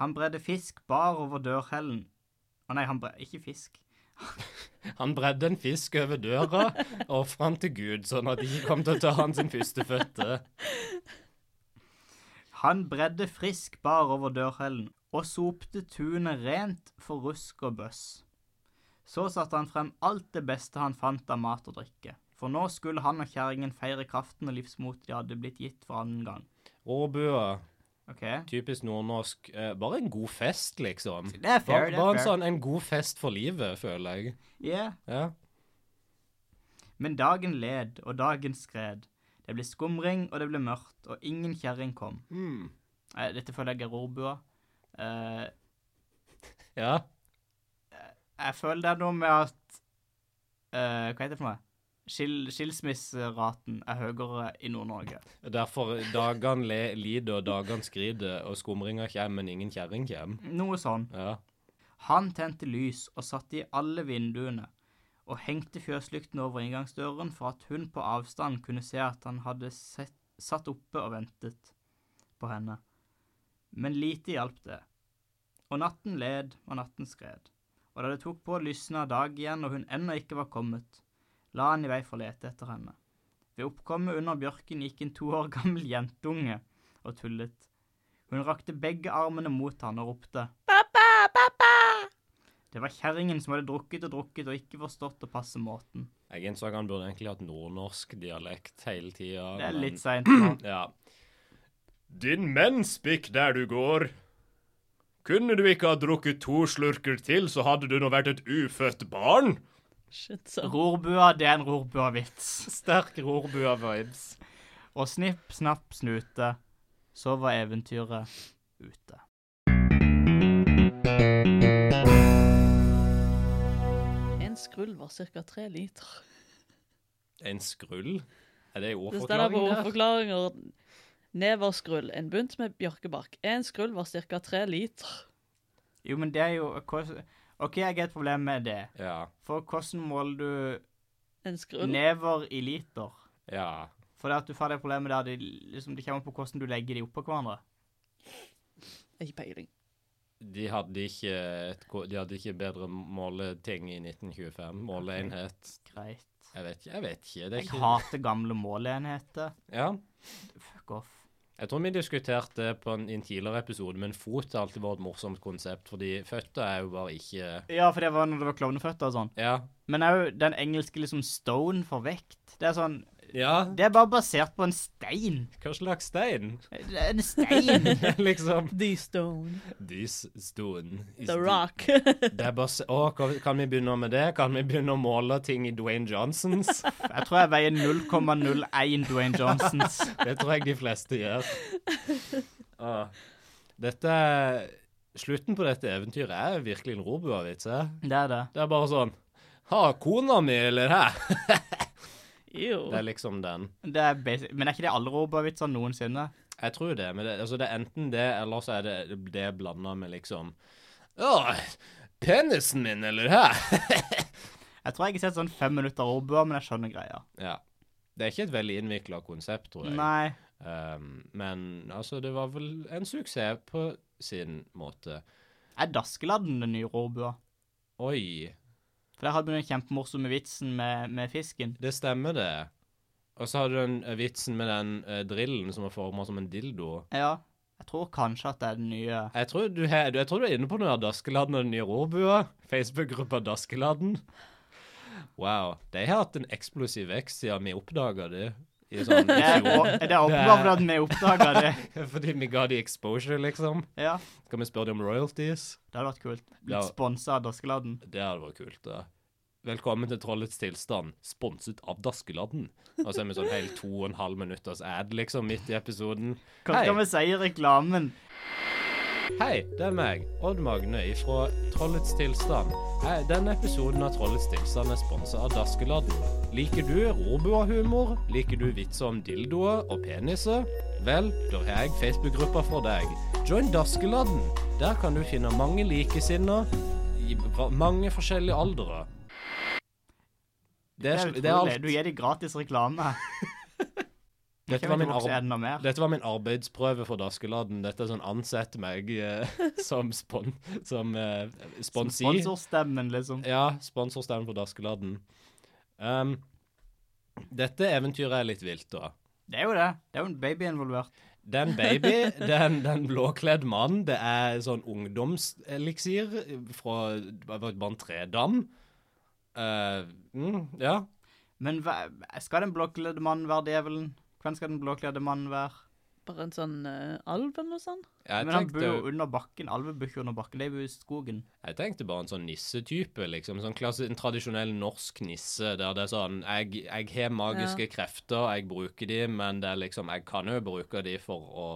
[SPEAKER 1] Han bredde fisk bar over dørhellen. Å nei, han bredde ikke fisk.
[SPEAKER 2] Han bredde en fisk over døra og ofra han til Gud, sånn at de ikke kom til å ta han sin førstefødte.
[SPEAKER 1] Han bredde frisk bar over dørhellen og sopte tunet rent for rusk og bøss. Så satte han frem alt det beste han fant av mat og drikke, for nå skulle han og kjerringen feire kraften og livsmotet de hadde blitt gitt for annen gang.
[SPEAKER 2] Råbua,
[SPEAKER 1] OK?
[SPEAKER 2] typisk nordnorsk. Eh, bare en god fest, liksom.
[SPEAKER 1] Det er Mm. fair,
[SPEAKER 2] Bare,
[SPEAKER 1] det er
[SPEAKER 2] bare en
[SPEAKER 1] fair.
[SPEAKER 2] sånn en god fest for livet, føler jeg.
[SPEAKER 1] Yeah.
[SPEAKER 2] Ja.
[SPEAKER 1] Men dagen led, og dagen skred. Det ble skumring, og det ble mørkt, og ingen kjerring kom. Eh, Dette føler jeg er rorbua. Eh,
[SPEAKER 2] Ja.
[SPEAKER 1] jeg føler det er noe med at eh, Hva heter det for noe? Skil, skilsmisseraten er høyere i Nord-Norge.
[SPEAKER 2] Derfor dagene le- lider, og dagene skrider, og skumringer kommer, men ingen kjerring kommer.
[SPEAKER 1] Noe sånn.
[SPEAKER 2] Ja.
[SPEAKER 1] Han tente lys og satte i alle vinduene, og hengte fjøslykten over inngangsdøren for at hun på avstand kunne se at han hadde sett, satt oppe og ventet på henne. Men lite hjalp det, og natten led og natten skred, og og da det tok på å lysne av dag igjen og hun ennå ikke var kommet, la han i vei for å lete etter henne. Ved oppkommet under bjørken gikk en to år gammel jentunge og tullet. Hun rakte begge armene mot han og ropte.
[SPEAKER 3] Pappa, pappa!
[SPEAKER 1] Det var kjerringen som hadde drukket og drukket og ikke forstått å passe måten.
[SPEAKER 2] Jeg innså han burde egentlig hatt nordnorsk dialekt hele tida.
[SPEAKER 1] Det er litt seint *clears throat* nå.
[SPEAKER 2] Ja. Din mennspikk der du går. Kunne du ikke ha drukket to slurker til, så hadde du nå vært et ufødt barn.
[SPEAKER 3] Shit, så.
[SPEAKER 1] Rorbua, det er en rorbua-vits. *laughs* Sterk rorbua-vibes. Og snipp, snapp, snute, så var eventyret ute.
[SPEAKER 3] En skrull var ca. tre liter.
[SPEAKER 2] En skrull? Er det en
[SPEAKER 3] Det står der på
[SPEAKER 2] ordforklaring der?
[SPEAKER 3] ordforklaringer. Neverskrull. En bunt med bjørkebakk. En skrull var ca. tre liter.
[SPEAKER 1] Jo, men det er jo hvordan- OK, jeg har et problem med det.
[SPEAKER 2] Ja.
[SPEAKER 1] For hvordan måler du
[SPEAKER 3] En skrull.
[SPEAKER 1] never i liter?
[SPEAKER 2] Ja.
[SPEAKER 1] For det at du får det problemet der det, liksom, det kommer på hvordan du legger de oppå hverandre.
[SPEAKER 3] Ikke peiling.
[SPEAKER 2] De hadde ikke, et, ko- de hadde ikke bedre måleting i 1925. Måleenhet.
[SPEAKER 1] Greit.
[SPEAKER 2] Jeg vet ikke. Jeg vet ikke. Det er
[SPEAKER 1] Jeg
[SPEAKER 2] ikke.
[SPEAKER 1] hater gamle måleenheter.
[SPEAKER 2] Ja.
[SPEAKER 1] Fuck off.
[SPEAKER 2] Jeg tror vi diskuterte det på en, i en tidligere episode, men fot har alltid vært et morsomt konsept, fordi føtter er jo bare ikke
[SPEAKER 1] Ja, for det var når det var klovneføtter og sånn.
[SPEAKER 2] Ja.
[SPEAKER 1] Men òg den engelske liksom stone for vekt. Det er sånn
[SPEAKER 2] ja.
[SPEAKER 1] Det er bare basert på en stein.
[SPEAKER 2] Hva slags stein? *laughs*
[SPEAKER 1] Det er en stein.
[SPEAKER 2] liksom.
[SPEAKER 3] The Stone.
[SPEAKER 2] This stone is
[SPEAKER 3] The Rock.
[SPEAKER 2] Det er bare se- Å, kan kan vi begynne med det? Kan vi begynne å måle ting i Dwayne Johnsons?
[SPEAKER 1] Jeg tror jeg veier 0,01 Dwayne Johnsons.
[SPEAKER 2] Det tror jeg de fleste gjør. Ah. Dette er- Slutten på dette eventyret er virkelig en robuavits. eh?
[SPEAKER 1] *laughs* Det er det.
[SPEAKER 2] Det er bare sånn Ha kona mi, eller hæ?
[SPEAKER 3] *laughs* Jo.
[SPEAKER 2] Det er liksom den.
[SPEAKER 1] det er basic. Men er ikke det alle robovitser noensinne?
[SPEAKER 2] Jeg tror det, men det, altså det er enten det, eller så er det det blanda med liksom Å, penisen min, eller hæ?
[SPEAKER 1] Jeg tror jeg har sett sånn fem minutter roboer, men jeg skjønner greia.
[SPEAKER 2] Ja. Det er ikke et veldig innvikla konsept, tror jeg.
[SPEAKER 1] Nei.
[SPEAKER 2] Ehm, men altså, det var vel en suksess på sin måte.
[SPEAKER 1] Er Daskeladden den nye robua?
[SPEAKER 2] Oi,
[SPEAKER 1] For der hadde vi den kjempemorsomme vitsen med, med fisken.
[SPEAKER 2] det stemmer det. Og så hadde du den eh, vitsen med den eh, drillen som var forma som en dildo.
[SPEAKER 1] Ja. Jeg tror kanskje at det er den nye
[SPEAKER 2] Jeg tror du, he, du- jeg tror du er inne på noe av Daskeladden og den nye rorbua. Facebook-gruppa Daskeladden. Wow. De har hatt en eksplosiv vekst siden vi oppdaga det. I
[SPEAKER 1] *laughs*
[SPEAKER 2] sånn,
[SPEAKER 1] Det
[SPEAKER 2] i
[SPEAKER 1] er,
[SPEAKER 2] fjor.
[SPEAKER 1] *laughs* det er åpenbart fordi at vi oppdaga det.
[SPEAKER 2] *laughs* Fordi vi ga de exposure, liksom.
[SPEAKER 1] Ja.
[SPEAKER 2] Skal vi spørre de om royalties?
[SPEAKER 1] Det hadde vært kult.
[SPEAKER 2] Ja.
[SPEAKER 1] Blitt sponsa av Daskeladden.
[SPEAKER 2] Det hadde vært kult, det. Velkommen til Trollets tilstand, sponset av Daskeladden. Og så er vi sånn helt to og en halv minutters ad, liksom, midt i episoden.
[SPEAKER 1] Hva
[SPEAKER 2] Hei.
[SPEAKER 1] skal vi si i reklamen?
[SPEAKER 2] Hei, det er meg, Odd Magne fra Trollets tilstand. Hei, denne episoden av Trollets tilstand er sponsa av Daskeladden. Liker du rorbuahumor? Liker du vitser om dildoer og peniser? Vel, da har jeg Facebook-gruppa for deg. Join Daskeladden. Der kan du finne mange likesinna i va- mange forskjellige aldre. Det
[SPEAKER 1] Det
[SPEAKER 2] er,
[SPEAKER 1] er
[SPEAKER 2] sl- det er
[SPEAKER 1] utrolig.
[SPEAKER 2] alt.
[SPEAKER 1] Du gir dem gratis
[SPEAKER 2] *laughs*
[SPEAKER 1] reklame.
[SPEAKER 2] Dette
[SPEAKER 1] Kan
[SPEAKER 2] var
[SPEAKER 1] vi
[SPEAKER 2] min
[SPEAKER 1] ikke vokse
[SPEAKER 2] arbeid.
[SPEAKER 1] enda mer?
[SPEAKER 2] Dette var min arbeidsprøve for Daskeladden. Dette er sånn ansett meg eh, som, spon, som eh, sponsi.
[SPEAKER 1] Sponsorstemmen, liksom.
[SPEAKER 2] Ja, sponsorstevne på Daskeladden. Um, dette eventyret er litt vilt, da.
[SPEAKER 1] Det er jo det. Det er jo en baby involvert.
[SPEAKER 2] Det er en baby, det er en, det er en blåkledd mann, det er sånn ungdomseliksir fra Bantredam. Uh, mm, ja.
[SPEAKER 1] Men hva, skal den blåkledde mannen være djevelen? Hvem skal den blåkledde mannen være?
[SPEAKER 3] Bare en sånn eh, alv eller noe sånt.
[SPEAKER 2] Jeg
[SPEAKER 1] Men han
[SPEAKER 2] tenkte-
[SPEAKER 1] bor jo under bakken. Alver bor ikke under bakken, de bor i skogen.
[SPEAKER 2] Jeg tenkte bare en sånn nissetype, liksom. Sånn klasse, en tradisjonell norsk nisse, der det er sånn Jeg, jeg har magiske krefter, jeg bruker de, men det er liksom Jeg kan jo bruke de for å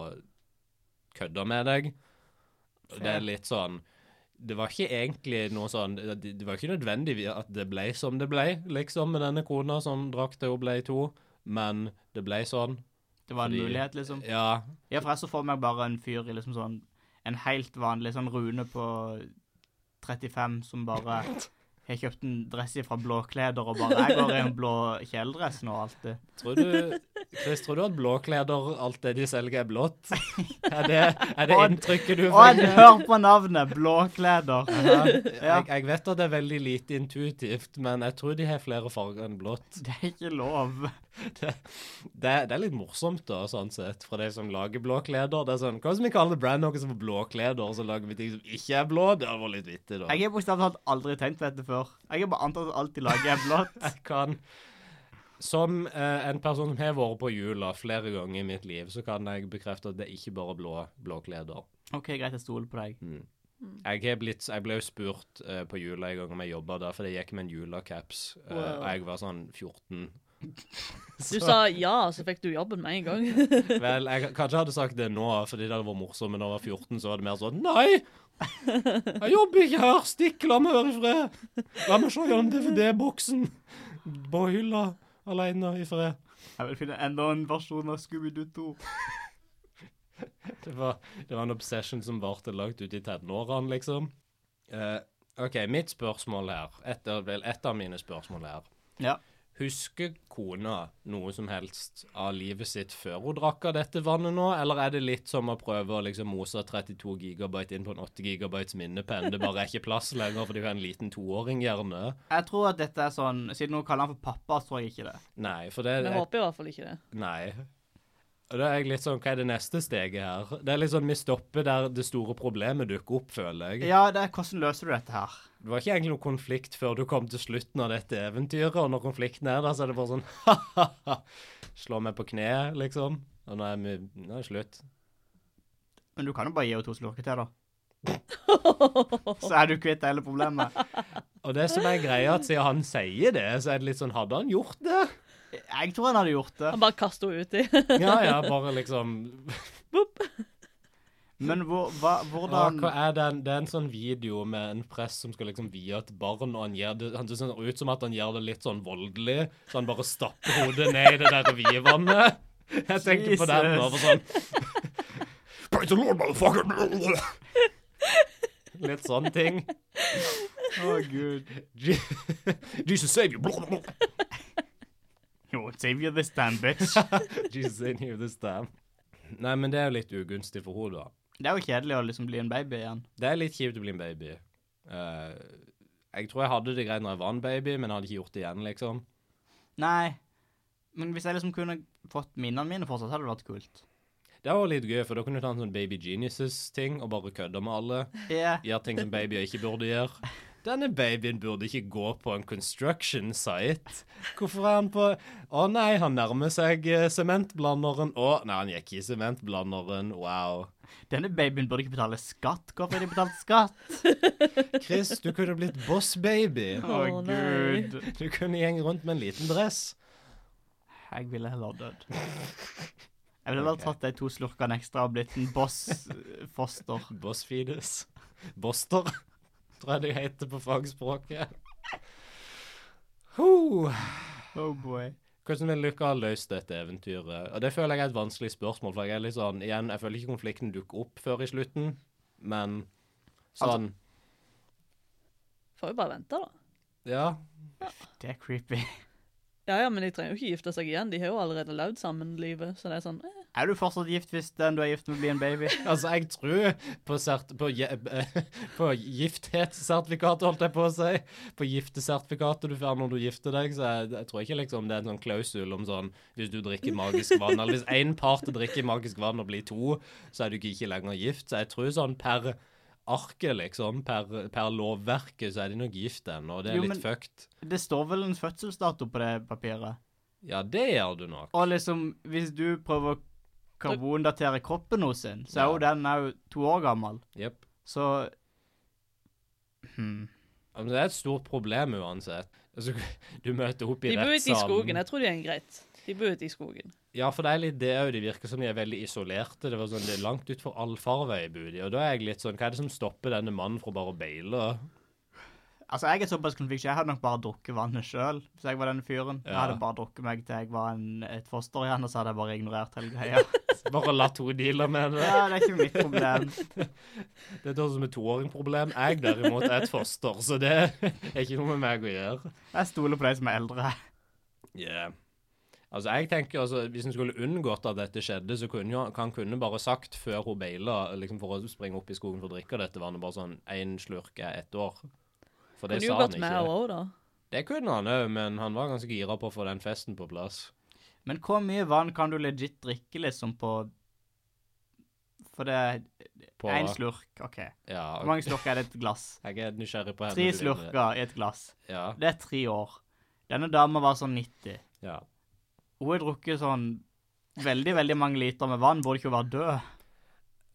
[SPEAKER 2] kødde med deg. Og Det
[SPEAKER 1] Ja.
[SPEAKER 2] er litt sånn Det var ikke egentlig noe sånn Det, det var ikke nødvendig at det ble som det ble, liksom, med denne kona som drakk til hun ble to, men det ble sånn.
[SPEAKER 1] Det var en
[SPEAKER 2] Fordi-
[SPEAKER 1] mulighet, liksom.
[SPEAKER 2] Ja.
[SPEAKER 1] Ja, for jeg så for meg bare en fyr i liksom
[SPEAKER 2] *laughs*
[SPEAKER 1] sånn En helt vanlig sånn Rune på 35 som bare Jeg kjøpte en dress fra blåkleder og bare Jeg går i en blå kjeledress nå, alt det.
[SPEAKER 2] Tror du, Chris, tror du at blåkleder, alt det de selger, er blått? Er det, er det
[SPEAKER 1] Odd.
[SPEAKER 2] inntrykket du
[SPEAKER 1] Og
[SPEAKER 2] fikk?
[SPEAKER 1] hør på navnet! Blåkleder. Ja.
[SPEAKER 2] Jeg, jeg vet at det er veldig lite intuitivt, men jeg tror de har flere farger enn blått.
[SPEAKER 1] Det er ikke lov.
[SPEAKER 2] Det, det er litt morsomt, da, sånn sett, fra de som lager blåkleder. Det er sånn, Hva hvis vi kaller det brand noe som er blåkleder, og så lager vi ting som ikke er blå? Det hadde vært litt vittig, da.
[SPEAKER 1] Jeg har bokstavelig talt aldri tenkt på dette før. Jeg har bare antatt at alt de lager, er blått.
[SPEAKER 2] Jeg kan Som eh, en person som har vært på jula flere ganger i mitt liv, så kan jeg bekrefte at det er ikke bare blå blåkleder.
[SPEAKER 1] *laughs* OK, greit, jeg stoler på deg.
[SPEAKER 2] Jeg, har blitt, jeg ble jo spurt eh, på jula en gang om jeg jobba der, for jeg gikk med en julacaps, eh,
[SPEAKER 3] Wow.
[SPEAKER 2] og jeg var sånn
[SPEAKER 3] *laughs*
[SPEAKER 2] 14.
[SPEAKER 3] Du sa ja, så fikk du jobben med en gang.
[SPEAKER 2] Vel, jeg kanskje hadde sagt det nå, fordi det hadde vært morsomt, men da jeg var 14, så var det mer sånn Nei! Jeg jobber ikke her! Stikk! La meg være i fred! La meg se gjennom DVD-boksen på hylla aleine i fred.
[SPEAKER 1] Jeg vil finne enda en versjon av Scooby-Doo 2.
[SPEAKER 2] Det var, det var en obsession som varte langt ut i tenårene, liksom. Eh, OK, mitt spørsmål her, et av, vel et av mine spørsmål her
[SPEAKER 1] Ja.
[SPEAKER 2] Husker kona noe som helst av livet sitt før hun drakk av dette vannet nå, eller er det litt som å prøve å liksom mose 32 gigabyte inn på en 8 gigabytes minnepenn? Det bare er ikke plass lenger fordi hun er en liten toåring, gjerne.
[SPEAKER 1] Jeg tror at dette er sånn Siden hun kaller han for pappa, så tror jeg ikke det.
[SPEAKER 2] Nei, for det
[SPEAKER 3] Men jeg håper i hvert fall ikke det.
[SPEAKER 2] Nei. Og da er jeg litt sånn, hva er det neste steget her? Det er litt sånn, vi stopper der det store problemet dukker opp, føler jeg.
[SPEAKER 1] Ja, det er hvordan løser du dette her?
[SPEAKER 2] Det var ikke egentlig noen konflikt før du kom til slutten av dette eventyret, og når konflikten er der, så er det bare sånn *laughs* ha-ha-ha. Slå meg på kne, liksom. Og nå er, vi, nå er det slutt.
[SPEAKER 1] Men du kan jo bare gi henne to slurker *laughs* til, da. Så er du kvitt hele problemet.
[SPEAKER 2] Og det som er greia, at siden han sier det, så er det litt sånn Hadde han gjort det?
[SPEAKER 1] Jeg tror han hadde gjort det.
[SPEAKER 3] Han bare kaster henne uti.
[SPEAKER 2] Ja, ja, bare liksom
[SPEAKER 1] Men hvor, hva,
[SPEAKER 2] Ja,
[SPEAKER 1] hvordan
[SPEAKER 2] hva er den, Det er en sånn video med en prest som skal liksom vie et barn, og han gjør det Han det ser ut som at han gjør det litt sånn voldelig, så han bare stapper hodet ned i det der vievannet. *laughs* Jeg tenkte på den
[SPEAKER 1] Jesus.
[SPEAKER 2] nå, for sånn *laughs* Praise the Lord, motherfucker! *laughs* Litt sånn ting.
[SPEAKER 1] Å, gud.
[SPEAKER 2] Je- *laughs* Jesus save you! *laughs*
[SPEAKER 1] Jo, save you this time, *laughs* bitch.
[SPEAKER 2] Jesus in you this time. Nei, men det er jo litt ugunstig for henne, da.
[SPEAKER 1] Det er jo kjedelig å liksom bli en baby igjen.
[SPEAKER 2] Det er litt kjipt å bli en baby. Eh, jeg tror jeg hadde det greit når jeg var en baby, men jeg hadde ikke gjort det igjen, liksom.
[SPEAKER 1] Nei. Men hvis jeg liksom kunne fått minnene mine fortsatt, hadde det vært kult.
[SPEAKER 2] Det var litt gøy, for da kunne du ta en sånn Baby Geniuses-ting og bare kødde med alle.
[SPEAKER 1] Ja.
[SPEAKER 2] Gjøre ting som babyer ikke burde gjøre. Denne babyen burde ikke gå på en construction site. Hvorfor er han på Å nei, han nærmer seg eh, sementblanderen. Å nei, han gikk i sementblanderen. Wow.
[SPEAKER 1] Denne babyen burde ikke betale skatt. Hvorfor har de betalt skatt?
[SPEAKER 2] Chris, du kunne blitt boss-baby.
[SPEAKER 1] Å,
[SPEAKER 3] Å, nei.
[SPEAKER 1] gud.
[SPEAKER 2] Du kunne gjenge rundt med en liten dress.
[SPEAKER 1] Jeg ville heller dødd. Jeg ville heller tatt de to slurkene ekstra og blitt en eh, boss-foster.
[SPEAKER 2] Boss-feedus. Boster, tror jeg det heter på fagspråket. Huh.
[SPEAKER 1] Oh boy.
[SPEAKER 2] Hvordan vil dere ha løst dette eventyret? Og Det føler jeg er et vanskelig spørsmål. for Jeg er litt sånn, igjen, jeg føler ikke konflikten dukker opp før i slutten, men sånn
[SPEAKER 3] *laughs* Får jo bare vente, da.
[SPEAKER 2] Ja.
[SPEAKER 1] Det er creepy.
[SPEAKER 3] Ja, ja, men de trenger jo ikke gifte seg igjen. De har jo allerede levd sammen livet, så det er sånn eh.
[SPEAKER 1] Er du fortsatt gift hvis den du er gift med, blir en baby?
[SPEAKER 2] Altså, jeg tror på, sert, på, je- *laughs* eh, på gifthetssertifikatet, holdt jeg på å si. På giftesertifikatet du får når du gifter deg, så jeg, jeg tror ikke liksom det er en sånn klausul om sånn Hvis du drikker magisk vann, eller hvis én part drikker magisk vann og blir to, så er du ikke- ikke lenger gift. Så jeg tror sånn per arket, liksom, per, per lovverket, så er de nok gift ennå. Det er
[SPEAKER 1] Jo,
[SPEAKER 2] litt
[SPEAKER 1] men-
[SPEAKER 2] fucked.
[SPEAKER 1] Det står vel en fødselsdato på det papiret.
[SPEAKER 2] Ja, det gjør du nok.
[SPEAKER 1] Og liksom, hvis du prøver å karbondatere kroppen hos sin, så er jo den er jo to år gammel.
[SPEAKER 2] Jepp.
[SPEAKER 1] Så hmm.
[SPEAKER 2] Men Altså, Det er et stort problem uansett. Altså, *laughs* du møter opp i
[SPEAKER 3] De
[SPEAKER 2] rettssalen.
[SPEAKER 3] bor ute i skogen. Jeg tror det er greit. De bor ute i skogen.
[SPEAKER 2] Ja, for det er litt det òg. De virker som de er veldig isolerte. Det var sånn, det er langt utfor allfarvei, Budi. Og da er jeg litt sånn Hva er det som stopper denne mannen fra bare å beile?
[SPEAKER 1] Altså, jeg er såpass konflikt, jeg hadde nok bare drukket vannet sjøl, hvis jeg var den fyren. Jeg
[SPEAKER 2] Ja.
[SPEAKER 1] *laughs* hadde bare drukket meg til jeg var en, et foster igjen, og så hadde jeg bare ignorert hele greia.
[SPEAKER 2] Bare la to dealer med det.
[SPEAKER 1] Ja, det er ikke mitt problem.
[SPEAKER 2] Det er sånn som et toåringproblem. Jeg derimot er et foster, så det er ikke noe med meg å gjøre.
[SPEAKER 1] Jeg stoler på de som er eldre.
[SPEAKER 2] Yeah. Altså, jeg tenker altså, Hvis en skulle unngått at dette skjedde, så kunne jo- han kunne bare sagt før hun baila, liksom for å springe opp i skogen for å drikke dette vannet, bare sånn én slurk er ett år. For det
[SPEAKER 3] Kunne jo
[SPEAKER 2] sa han
[SPEAKER 3] gått
[SPEAKER 2] ikke.
[SPEAKER 3] med òg, da.
[SPEAKER 2] Det kunne han òg, men han var ganske gira på å få den festen på plass.
[SPEAKER 1] Men hvor mye vann kan du legit drikke, liksom, på For det er
[SPEAKER 2] På,
[SPEAKER 1] én slurk. OK.
[SPEAKER 2] Ja,
[SPEAKER 1] Hvor mange slurker er det i et glass?
[SPEAKER 2] Jeg er nysgjerrig på henne.
[SPEAKER 1] Tre
[SPEAKER 2] du driver med.
[SPEAKER 1] slurker i et glass.
[SPEAKER 2] Ja,
[SPEAKER 1] Det er tre år. Denne dama var sånn 90.
[SPEAKER 2] ja.
[SPEAKER 1] Hun har drukket sånn veldig, veldig mange liter med vann. Burde ikke hun være død av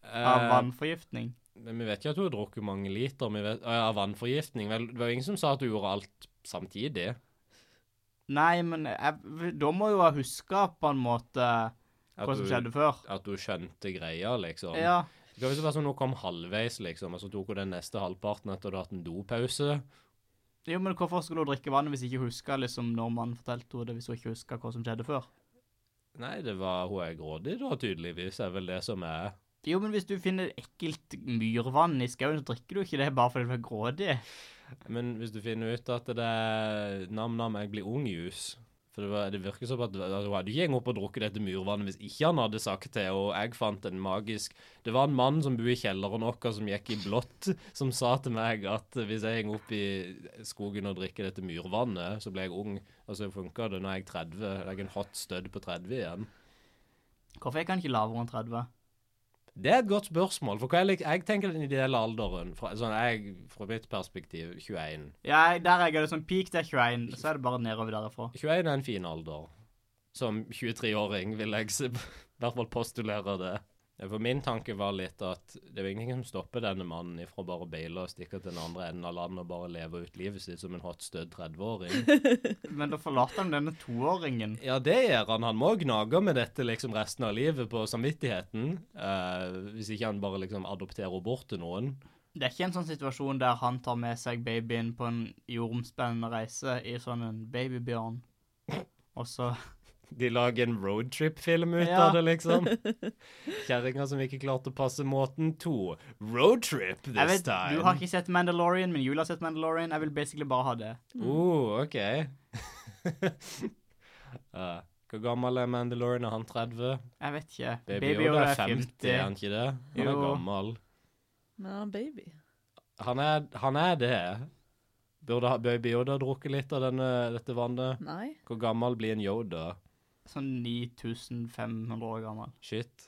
[SPEAKER 2] Eh,
[SPEAKER 1] vannforgiftning?
[SPEAKER 2] Men vi vet ikke at hun har drukket mange liter vi vet, ja, av vannforgiftning. Vel, det var jo ingen som sa at hun gjorde alt samtidig.
[SPEAKER 1] Nei, men jeg, da må hun ha huska på en måte
[SPEAKER 2] At
[SPEAKER 1] hva som
[SPEAKER 2] hun,
[SPEAKER 1] skjedde før.
[SPEAKER 2] at hun skjønte greia, liksom.
[SPEAKER 1] Ja.
[SPEAKER 2] Det kan jo ikke være sånn at hun kom halvveis, liksom, og så tok hun den neste halvparten etter at hun hadde hatt en dopause.
[SPEAKER 1] Jo, men hvorfor skulle hun drikke vann hvis ikke hun huska liksom, når mannen fortalte henne det, hvis hun ikke huska hva som skjedde før?
[SPEAKER 2] Nei, det var hun er grådig, da, tydeligvis, er vel det som er
[SPEAKER 1] Jo, men hvis du finner ekkelt myrvann i skauen, så drikker du ikke det bare fordi du er grådig.
[SPEAKER 2] Men hvis du finner ut at det er nam-nam, jeg blir ung-jus For det, var, det virker som at at hun hadde ikke gått opp og drukket dette murvannet hvis ikke han hadde sagt det, og jeg fant en magisk Det var en mann som bor i kjelleren vår, som gikk i blått, som sa til meg at hvis jeg henger opp i skogen og drikker dette murvannet, så blir jeg ung. Og så funka det når jeg er 30. Jeg er en hot stud på 30 igjen.
[SPEAKER 1] Hvorfor gikk han ikke lavere enn 30?
[SPEAKER 2] Det er et godt spørsmål, for hva er, lik- jeg tenker den ideelle alderen fra, sånn, jeg, fra mitt perspektiv 21.
[SPEAKER 1] Ja, der jeg hadde sånn peak til 21, så er det bare nedover derifra.
[SPEAKER 2] 21 er en fin alder. Som 23-åring vil jeg se- *laughs* i hvert fall postulere det. Ja, For min tanke var litt at det er jo ingenting som stopper denne mannen ifra bare å baile og stikke til den andre enden av landet og bare leve ut livet sitt som en hot stødd
[SPEAKER 1] *laughs*
[SPEAKER 2] 30-åring.
[SPEAKER 1] Men da forlater han denne toåringen.
[SPEAKER 2] Ja, det gjør han. Han må gnage med dette liksom resten av livet på samvittigheten. eh, hvis ikke han bare liksom adopterer henne bort til noen.
[SPEAKER 1] Det er ikke en sånn situasjon der han tar med seg babyen på en jordomspennende reise i sånn en babybjørn. Og
[SPEAKER 2] *laughs*
[SPEAKER 1] så
[SPEAKER 2] De lager en roadtrip-film ut
[SPEAKER 1] Ja.
[SPEAKER 2] av det,
[SPEAKER 1] *laughs*
[SPEAKER 2] liksom. Kjerringa som ikke klarte å passe måten to. Roadtrip
[SPEAKER 1] Jeg
[SPEAKER 2] this
[SPEAKER 1] vet,
[SPEAKER 2] time.
[SPEAKER 1] du har ikke sett Mandalorian, men Julie har sett Mandalorian. Jeg vil basically bare ha det.
[SPEAKER 2] Oh, OK. *laughs* Eh, hvor gammel er Mandalorian? Er han 30?
[SPEAKER 1] Jeg vet ikke.
[SPEAKER 2] Baby, Yoda er 50, er han ikke det? Han er
[SPEAKER 1] Jo.
[SPEAKER 2] gammel.
[SPEAKER 3] Men han er baby.
[SPEAKER 2] Han er, han er det. Burde ha- Baby Yoda drukket litt av denne, dette vannet?
[SPEAKER 3] Nei.
[SPEAKER 2] Hvor gammel blir en Yoda?
[SPEAKER 1] Sånn 9500 år gammel.
[SPEAKER 2] Shit.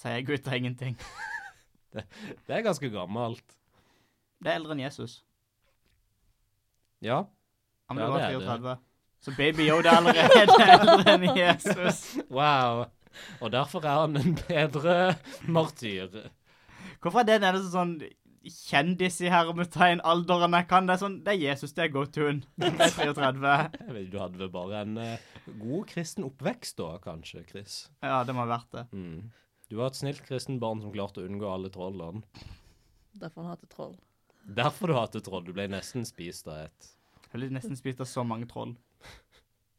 [SPEAKER 1] Sier gutta ingenting.
[SPEAKER 2] Det er ganske gammelt.
[SPEAKER 1] Det er eldre enn Jesus.
[SPEAKER 2] Ja.
[SPEAKER 1] Han ble
[SPEAKER 2] Ja,
[SPEAKER 1] bare
[SPEAKER 2] det er
[SPEAKER 1] 34.
[SPEAKER 2] det.
[SPEAKER 1] Så baby Yoda er allerede *laughs* eldre enn Jesus.
[SPEAKER 2] Wow. Og derfor er han en bedre martyr.
[SPEAKER 1] Hvorfor er det den eneste sånn kjendis i hermetegn alderen jeg kan? Det er sånn, det er Jesus, det er go-to-en. Det er 33.
[SPEAKER 2] Jeg vet, Du hadde vel bare en eh, god kristen oppvekst da, kanskje, Chris?
[SPEAKER 1] Ja, det må ha vært det.
[SPEAKER 2] Mm. Du var et snilt kristen barn som klarte å unngå alle trollene.
[SPEAKER 3] Derfor han hater troll.
[SPEAKER 2] Derfor du hatet troll. Du ble nesten spist av et.
[SPEAKER 1] Jeg ble nesten spist av så mange troll.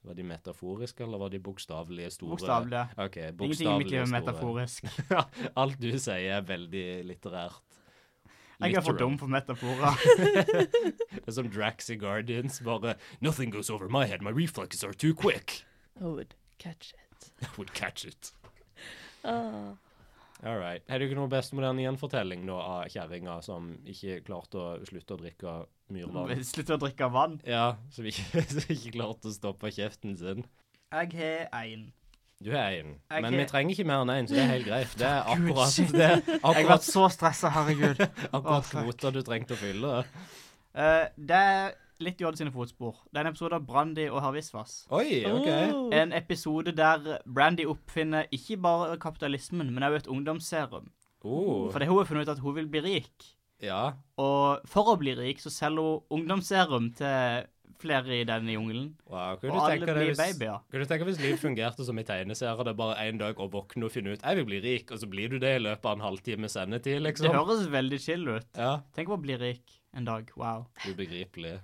[SPEAKER 2] Var de metaforiske, eller var de bokstavelige store?
[SPEAKER 1] Bokstavelig.
[SPEAKER 2] Ok,
[SPEAKER 1] Ingenting i mitt liv
[SPEAKER 2] bokstavelige
[SPEAKER 1] er
[SPEAKER 2] store.
[SPEAKER 1] metaforisk.
[SPEAKER 2] Alt du sier er veldig litterært.
[SPEAKER 1] Jeg er for
[SPEAKER 2] Literal.
[SPEAKER 1] dum for metaforer.
[SPEAKER 2] Det er som Drax i Guardians, bare Nothing goes over my head, my reflexes are too quick. *laughs*
[SPEAKER 3] I would catch it.
[SPEAKER 2] I would catch it.
[SPEAKER 3] Ah.
[SPEAKER 2] All right. Er det ikke noe best moderne gjenfortelling da av kjerringa som ikke klarte å slutte å drikke myrvann?
[SPEAKER 1] Slutt å drikke vann.
[SPEAKER 2] Ja, som ikke, *laughs* som ikke klarte å stoppe kjeften sin.
[SPEAKER 1] Jeg har én.
[SPEAKER 2] Du er én,
[SPEAKER 1] Jeg
[SPEAKER 2] men
[SPEAKER 1] er-
[SPEAKER 2] vi trenger ikke mer enn én, så det er helt greit. Det er
[SPEAKER 1] Gud,
[SPEAKER 2] akkurat,
[SPEAKER 1] shit.
[SPEAKER 2] *laughs* det er
[SPEAKER 1] Jeg har vært
[SPEAKER 2] akkurat,
[SPEAKER 1] så stressa, herregud. Å,
[SPEAKER 2] akkurat
[SPEAKER 1] fuck.
[SPEAKER 2] kvota du trengte å fylle.
[SPEAKER 1] Eh, det er litt J sine fotspor. Det er en episode av Brandy og Herr Visvas.
[SPEAKER 2] Oi, OK.
[SPEAKER 3] Oh.
[SPEAKER 1] En episode der Brandy oppfinner ikke bare kapitalismen, men også et ungdomsserum.
[SPEAKER 2] Oh,
[SPEAKER 1] For det hun har funnet ut at hun vil bli rik.
[SPEAKER 2] ja.
[SPEAKER 1] Og for å bli rik så selger hun ungdomsserum til flere i denne jungelen.
[SPEAKER 2] Wow.
[SPEAKER 1] Og
[SPEAKER 2] Kunne du
[SPEAKER 1] alle
[SPEAKER 2] tenke deg
[SPEAKER 1] blir
[SPEAKER 2] hvis,
[SPEAKER 1] babyer.
[SPEAKER 2] kunne du tenke hvis liv fungerte som i tegneserier, det er bare én dag å våkne og finne ut jeg vil bli rik, og så blir du det i løpet av en halvtime sendetid,
[SPEAKER 1] Det
[SPEAKER 2] liksom?
[SPEAKER 1] høres veldig chill ut.
[SPEAKER 2] Ja,
[SPEAKER 1] Tenk på å bli rik en dag. Wow.
[SPEAKER 2] ubegripelig.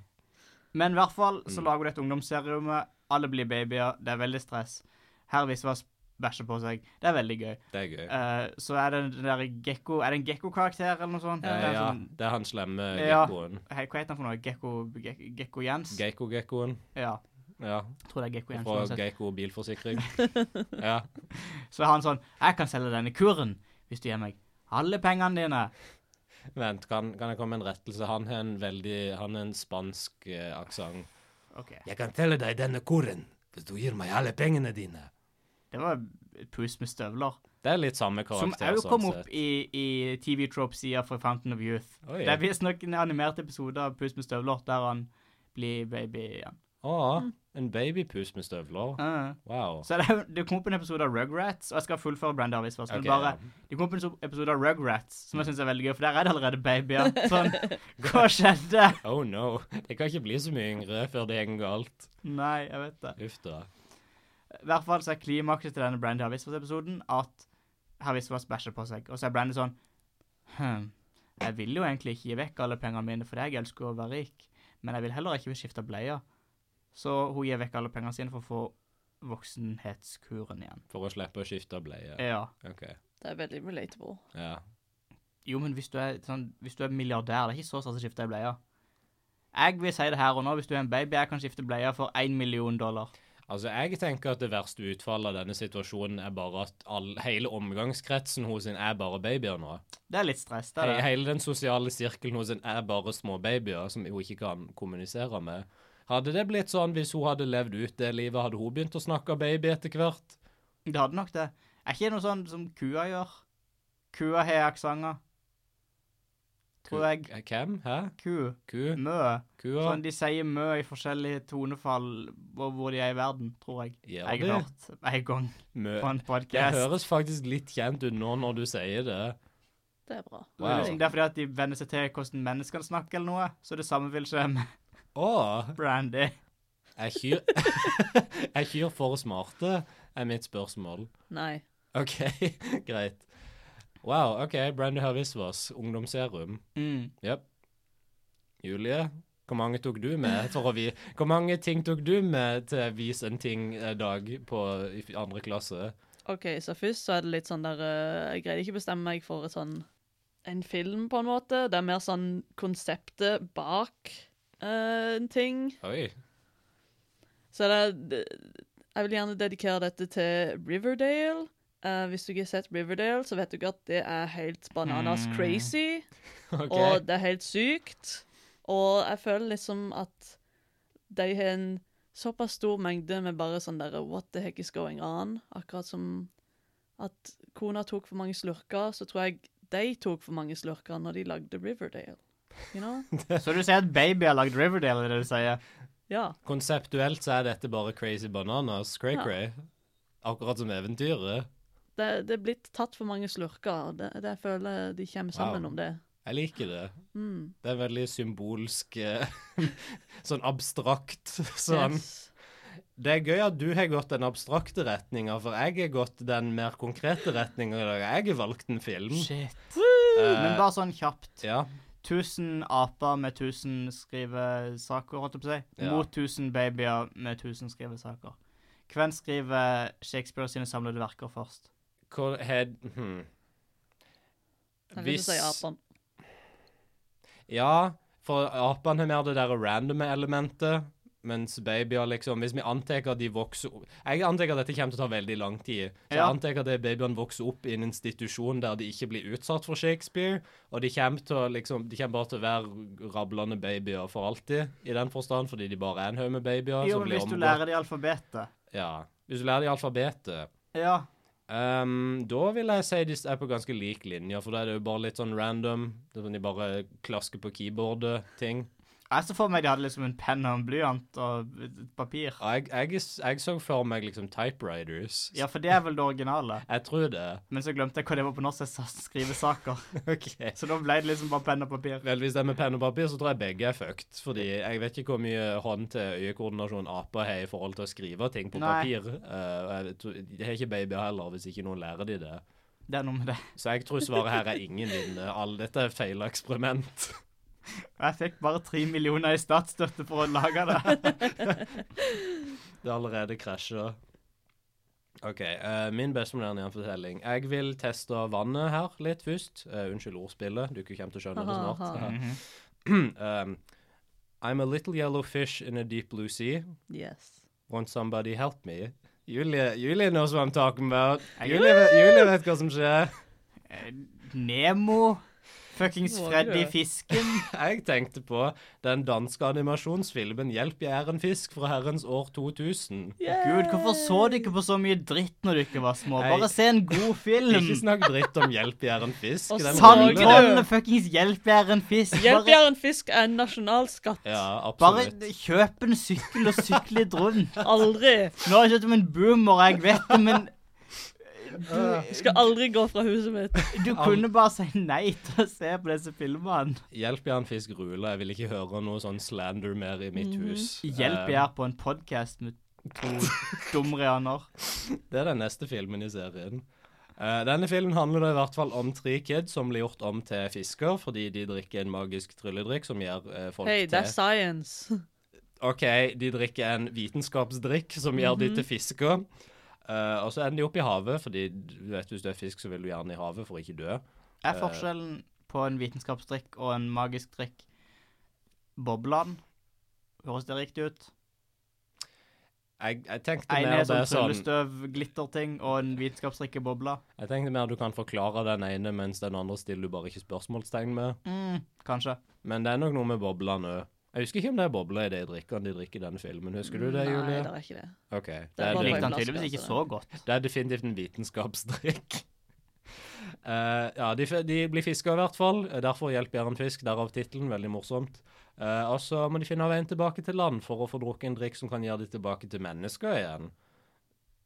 [SPEAKER 1] Men i
[SPEAKER 2] Mm.
[SPEAKER 1] hvert fall så lager du et ungdomsserium. Alle blir babyer. Det er veldig stress. Her viser vi oss bæsjer på seg. Det er veldig gøy.
[SPEAKER 2] Det er gøy.
[SPEAKER 1] Eh, så er det den der gekko Er det en gekko-karakter eller noe sånt?
[SPEAKER 2] Eh,
[SPEAKER 1] Det er
[SPEAKER 2] ja,
[SPEAKER 1] sånn-
[SPEAKER 2] det er han slemme
[SPEAKER 1] Ja.
[SPEAKER 2] gekkoen.
[SPEAKER 1] hei, hva heter han for noe? Gekko, Gek- gekko Jens?
[SPEAKER 2] Geiko-gekkoen.
[SPEAKER 1] ja,
[SPEAKER 2] Ja.
[SPEAKER 1] jeg tror det er Gekko Jens.
[SPEAKER 2] Fra
[SPEAKER 1] uansett.
[SPEAKER 2] Geiko bilforsikring.
[SPEAKER 1] *laughs*
[SPEAKER 2] Ja.
[SPEAKER 1] Så er han sånn Jeg kan selge denne kuren hvis du gir meg alle pengene dine.
[SPEAKER 2] Vent, kan, kan jeg komme med en rettelse? Han har en veldig Han har en spansk eh, aksent.
[SPEAKER 1] OK.
[SPEAKER 2] Jeg kan telle deg denne koren hvis du gir meg alle pengene dine.
[SPEAKER 1] Det var et pus med støvler.
[SPEAKER 2] Det er litt samme
[SPEAKER 1] Som
[SPEAKER 2] karakter,
[SPEAKER 1] òg kom
[SPEAKER 2] sånn
[SPEAKER 1] opp
[SPEAKER 2] sett.
[SPEAKER 1] i, i TV Trope-sida for Fountain of Youth.
[SPEAKER 2] Oi.
[SPEAKER 1] Det er visstnok en animert episode av Pus med støvler der han blir baby igjen.
[SPEAKER 2] Å, en babypus med støvler.
[SPEAKER 1] Ah.
[SPEAKER 2] Wow.
[SPEAKER 1] Så det, er- det kom opp en episode av Rugrats, og jeg skal fullføre Brand Davies først. men
[SPEAKER 2] Ok,
[SPEAKER 1] bare, Det kom opp en episode av Rugrats, som jeg syns er veldig gøy, for der er det allerede babyer. Sånn, hva skjedde?
[SPEAKER 2] Oh no. *laughs* Jeg kan ikke bli så mye yngre før det går galt.
[SPEAKER 1] Nei, jeg vet det.
[SPEAKER 2] Uff da.
[SPEAKER 1] I hvert fall så er klimakset til denne Brandy Havisvas-episoden at Havisvas bæsjer på seg. Og så er Brandy sånn Hm, jeg vil jo egentlig ikke gi vekk alle pengene mine fordi jeg elsker å være rik, men jeg vil heller ikke skifte bleier. Så hun gir vekk alle pengene sine for å få voksenhetskuren igjen.
[SPEAKER 2] For å slippe å skifte bleie.
[SPEAKER 1] Ja.
[SPEAKER 2] OK.
[SPEAKER 3] Det er veldig relatable.
[SPEAKER 2] Ja.
[SPEAKER 1] Jo, men hvis du er, sånn, hvis du er milliardær, det er ikke så stas å skifte ei bleie. Jeg vil si det her og nå, hvis du er en baby, jeg kan skifte bleie for én million dollar.
[SPEAKER 2] Altså, jeg tenker at det verste utfallet av denne situasjonen er bare at all, hele omgangskretsen hos sin er bare babyer nå.
[SPEAKER 1] Det er litt stress, det
[SPEAKER 2] He,
[SPEAKER 1] er det.
[SPEAKER 2] hele den sosiale sirkelen hos en er bare små babyer som hun ikke kan kommunisere med. Hadde det blitt sånn hvis hun hadde levd ut det livet, hadde hun begynt å snakke baby etter hvert?
[SPEAKER 1] Det hadde nok det. Er ikke noe sånn som kua gjør? Kua har aksenter. Tror jeg.
[SPEAKER 2] K- Hvem? Hæ?
[SPEAKER 1] Ku.
[SPEAKER 2] Ku?
[SPEAKER 1] Mø.
[SPEAKER 2] Kua?
[SPEAKER 1] Sånn, de sier mø i forskjellige tonefall og hvor de er i verden, tror jeg.
[SPEAKER 2] Gjør
[SPEAKER 1] Jeg
[SPEAKER 2] de?
[SPEAKER 1] har sånn, hørt en gang
[SPEAKER 2] Mø.
[SPEAKER 1] på en
[SPEAKER 2] Det
[SPEAKER 1] podcast.
[SPEAKER 2] høres faktisk litt kjent ut nå når du sier det.
[SPEAKER 3] Det er bra.
[SPEAKER 1] Det er liksom- Det er fordi at de venner seg til hvordan menneskene snakker eller noe, så det samme vil skje med *laughs*
[SPEAKER 2] Å,
[SPEAKER 1] Brandy.
[SPEAKER 2] er kyr Er kyr *laughs* for smarte? Er mitt spørsmål.
[SPEAKER 3] Nei.
[SPEAKER 2] OK, *laughs* greit. Wow, OK. Brandy Hervisvas, ungdomsserum.
[SPEAKER 1] Mm.
[SPEAKER 2] Jepp. Julie, hvor mange tok du med? For å vi hvor mange ting tok du med til Vis en ting-dag på i f- andre klasse?
[SPEAKER 3] OK, så først så er det litt sånn der eh, Jeg greide ikke å bestemme meg for et sånn en film, på en måte. Det er mer sånn konseptet bak eh, en ting.
[SPEAKER 2] Oi.
[SPEAKER 3] Så det er det- Jeg vil gjerne dedikere dette til Riverdale. Eh, hvis du ikke har sett Riverdale, så vet du ikke at det er helt bananas
[SPEAKER 1] Mm.
[SPEAKER 3] crazy.
[SPEAKER 2] OK.
[SPEAKER 3] Og det er helt sykt. Og jeg føler liksom at de har en såpass stor mengde med bare sånn derre What the heck is going on? Akkurat som at kona tok for mange slurker, så tror jeg de tok for mange slurker når de lagde Riverdale. You know?
[SPEAKER 1] Så du sier at baby har lagd Riverdale, er det du sier?
[SPEAKER 3] Ja.
[SPEAKER 2] Konseptuelt så er dette bare crazy bananas. Cray-cray. Akkurat som eventyret.
[SPEAKER 3] Det, det er blitt tatt for mange slurker. og Det, det jeg føler de kommer sammen
[SPEAKER 2] Wow.
[SPEAKER 3] om det.
[SPEAKER 2] Jeg liker det.
[SPEAKER 3] Mm.
[SPEAKER 2] Det er veldig symbolsk eh, *laughs* Sånn abstrakt. Sånn.
[SPEAKER 3] Yes.
[SPEAKER 2] Det er gøy at du har gått den abstrakte retninga, for jeg har gått den mer konkrete retninga i dag. Jeg har valgt en film.
[SPEAKER 1] Shit.
[SPEAKER 2] Eh,
[SPEAKER 1] Men bare sånn kjapt.
[SPEAKER 2] ja.
[SPEAKER 1] 1000 aper med 1000 skrivesaker, holdt jeg på å si.
[SPEAKER 2] Ja.
[SPEAKER 1] Mot 1000 babyer med 1000 skrivesaker. Hvem skriver Shakespeare sine samlede verker først?
[SPEAKER 2] Hvor har hmm.
[SPEAKER 3] Jeg vil ikke si apen.
[SPEAKER 2] Ja, for apene har mer det der randome elementet, mens babyer liksom Hvis vi antar at de vokser opp Jeg antar at dette kommer til å ta veldig lang tid. Så jeg
[SPEAKER 1] Ja.
[SPEAKER 2] antar at de babyene vokser opp i en institusjon der de ikke blir utsatt for Shakespeare, og de kommer, til å, liksom, de kommer bare til å være rablende babyer for alltid, i den forstand, fordi de bare er en haug med babyer
[SPEAKER 1] Jo,
[SPEAKER 2] som
[SPEAKER 1] men
[SPEAKER 2] blir
[SPEAKER 1] hvis du
[SPEAKER 2] omgått.
[SPEAKER 1] lærer det i alfabetet.
[SPEAKER 2] Ja. Hvis du lærer dem alfabetet
[SPEAKER 1] Ja.
[SPEAKER 2] Ehm, da vil jeg si de er på ganske lik linje, for da er det jo bare litt sånn random. Det er sånn De bare klasker på keyboardet-ting.
[SPEAKER 1] Jeg så for meg de hadde liksom en penn og en blyant og et papir.
[SPEAKER 2] Jeg, jeg, jeg så for meg liksom typewriters.
[SPEAKER 1] Ja, for det er vel det originale.
[SPEAKER 2] Jeg
[SPEAKER 1] *laughs*
[SPEAKER 2] tror det.
[SPEAKER 1] Men så glemte jeg hva det var på norsk. Jeg sa skrivesaker.
[SPEAKER 2] ok.
[SPEAKER 1] Så da ble det liksom bare penn og papir.
[SPEAKER 2] Vel, hvis det er med penn og papir, så tror jeg begge er fucked. Fordi jeg vet ikke hvor mye hånd-til-øye-koordinasjon aper har i forhold til å skrive ting på
[SPEAKER 1] Nei.
[SPEAKER 2] papir. Eh, og jeg tror- de har ikke babyer heller, hvis ikke noen lærer de det.
[SPEAKER 1] Det er noe med det.
[SPEAKER 2] Så jeg tror svaret her er ingen vinner. Alle dette er feil eksperiment.
[SPEAKER 1] Jeg fikk bare tre millioner i statsstøtte
[SPEAKER 2] *laughs*
[SPEAKER 1] for å lage det.
[SPEAKER 2] Det er allerede krasja. OK. eh, min bestemodernian fortelling. Jeg vil teste vannet her litt først. Eh, unnskyld ordspillet, du kommer til å skjønne
[SPEAKER 1] *laughs*
[SPEAKER 2] det snart. *clears throat* um, I'm a little yellow fish in a deep blue sea.
[SPEAKER 3] Yes.
[SPEAKER 2] Won't somebody help me? Julie, Julie knows what I'm talking about. Julie, vet- Julie vet hva som skjer. *laughs*
[SPEAKER 1] Eh, Nemo, fuckings
[SPEAKER 3] Våger
[SPEAKER 1] Freddy
[SPEAKER 3] du?
[SPEAKER 1] Fisken.
[SPEAKER 2] Jeg tenkte på den danske animasjonsfilmen 'Hjelp, jeg er en fisk' fra herrens år 2000.
[SPEAKER 1] Gud, hvorfor så du ikke på så mye dritt når du ikke var små?
[SPEAKER 2] Nei.
[SPEAKER 1] Bare se en god film.
[SPEAKER 2] Ikke snakk dritt om 'Hjelp, jeg er en fisk'.
[SPEAKER 3] Og
[SPEAKER 2] Den
[SPEAKER 3] Sandra-
[SPEAKER 2] ruller.
[SPEAKER 1] Sandkornene fuckings hjelper er en fisk. Bare,
[SPEAKER 3] Hjelpjernfisk er en nasjonalskatt.
[SPEAKER 2] Ja,
[SPEAKER 1] bare
[SPEAKER 2] absolutt.
[SPEAKER 1] kjøp en sykkel og sykle litt rundt.
[SPEAKER 3] Aldri.
[SPEAKER 1] Nå har jeg kjøpt meg en boomer, jeg vet det, men
[SPEAKER 3] Jeg skal aldri gå fra huset mitt.
[SPEAKER 1] du kunne bare si nei til å se på disse filmene.
[SPEAKER 2] Hjelp jeg er en fisk rule. Jeg vil ikke høre noe sånn slander mer i
[SPEAKER 3] Mhm.
[SPEAKER 2] mitt hus. Eh,
[SPEAKER 1] Hjelp jeg er på en podkast med to dumrianer.
[SPEAKER 2] Eh, *laughs* Det er den neste filmen i serien. Eh, denne filmen handler da i hvert fall om tre kids som blir gjort om til fisker fordi de drikker en magisk trylledrikk som gjør eh, folk
[SPEAKER 3] Hey,
[SPEAKER 2] til
[SPEAKER 3] that's science.
[SPEAKER 2] OK, de drikker en vitenskapsdrikk som gjør
[SPEAKER 3] Mhm.
[SPEAKER 2] de til fisker. Eh, og så ender de opp i havet, fordi du vet, hvis du er fisk, så vil du gjerne i havet for å ikke dø.
[SPEAKER 1] Er
[SPEAKER 2] Eh.
[SPEAKER 1] forskjellen på en vitenskapsdrikk og en magisk drikk boblene? Høres det riktig ut?
[SPEAKER 2] Jeg, jeg tenkte
[SPEAKER 1] En
[SPEAKER 2] mer
[SPEAKER 1] er
[SPEAKER 2] det
[SPEAKER 1] sånn
[SPEAKER 2] er sånn
[SPEAKER 1] tryllestøv-glitterting, og en vitenskapsdrikk er bobla.
[SPEAKER 2] Jeg tenkte mer du kan forklare den ene, mens den andre stiller du bare ikke spørsmålstegn med.
[SPEAKER 1] Mm, kanskje.
[SPEAKER 2] Men det er nok noe med boblene òg. Jeg husker ikke om det er bobler i det jeg drikker de drikker i denne filmen. Husker du det,
[SPEAKER 3] Nei,
[SPEAKER 2] Julie?
[SPEAKER 3] det er ikke det.
[SPEAKER 2] OK.
[SPEAKER 3] Det
[SPEAKER 2] Det er,
[SPEAKER 3] er
[SPEAKER 1] Jeg
[SPEAKER 3] bobler.
[SPEAKER 2] det,
[SPEAKER 1] likte han
[SPEAKER 3] flaske,
[SPEAKER 1] tydeligvis ikke
[SPEAKER 3] altså.
[SPEAKER 1] så godt.
[SPEAKER 2] det er definitivt en vitenskapsdrikk. *laughs* Eh, ja, de, f- de blir fiska i hvert fall. Eh, Derfor hjelper jeg en fisk, derav tittelen. Veldig morsomt. Eh, og så må de finne veien tilbake til land for å få drukket en drikk som kan gjøre de tilbake til mennesker igjen.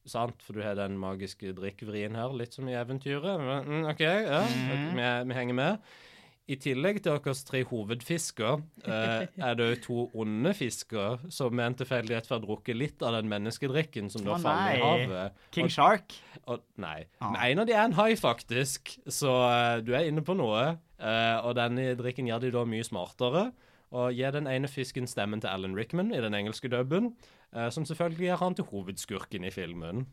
[SPEAKER 2] Sant, for du har den magiske drikkvrien her, litt som i eventyret. Men, Mm, OK, ja,
[SPEAKER 1] Mhm.
[SPEAKER 2] vi, vi henger med. I tillegg til deres tre hovedfisker, eh, er det jo to onde fisker som med en tilfeldighet får drukket litt av den menneskedrikken som da
[SPEAKER 1] Å,
[SPEAKER 2] faller i
[SPEAKER 1] nei.
[SPEAKER 2] havet.
[SPEAKER 1] King
[SPEAKER 2] og,
[SPEAKER 1] Shark?
[SPEAKER 2] og, nei.
[SPEAKER 1] Ah.
[SPEAKER 2] Men en av de er en hai, faktisk, så eh, du er inne på noe. Eh, og denne drikken gjør de da mye smartere. Og gir den ene fisken stemmen til Alan Rickman i den engelske dubben, eh, som selvfølgelig gjør han til hovedskurken i filmen.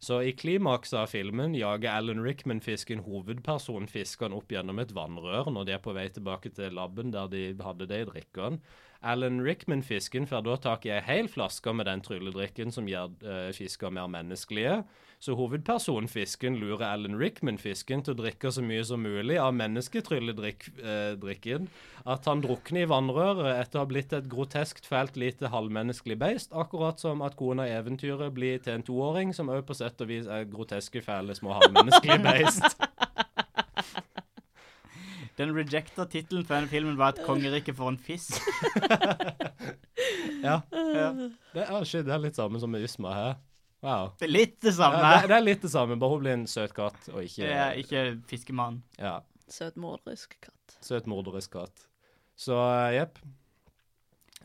[SPEAKER 2] Så i klimakset av filmen jager Alan Rickman fisken hovedperson fiskeren opp gjennom et vannrør når de er på vei tilbake til labben der de hadde det i drikken. Alan Rickman-fisken får da tak i ei hel flaske med den trylledrikken som gjør eh, fisker mer menneskelige. Så hovedpersonfisken lurer Alan Rickman-fisken til å drikke så mye som mulig av mennesketrylledrikken. At han drukner i vannrøret etter å ha blitt et groteskt, fælt, lite halvmenneskelig beist. Akkurat som at kona i eventyret blir til en toåring, som òg på sett og vis er groteske, fæle, små halvmenneskelige *laughs* beist.
[SPEAKER 1] Den rejecta tittelen for denne filmen var 'Et kongerike for en fisk'.
[SPEAKER 3] *laughs*
[SPEAKER 2] Ja.
[SPEAKER 1] Ja.
[SPEAKER 2] Det er, shit, det er litt samme som med Ysma her. Wow.
[SPEAKER 1] Det er litt det
[SPEAKER 2] Ja, det,
[SPEAKER 1] samme.
[SPEAKER 2] det er litt det samme, bare hun blir en søt katt, og ikke,
[SPEAKER 1] Det er ikke fiskemann.
[SPEAKER 2] Ja,
[SPEAKER 3] Søt morderisk katt.
[SPEAKER 2] søt morderisk katt. Så eh, jepp.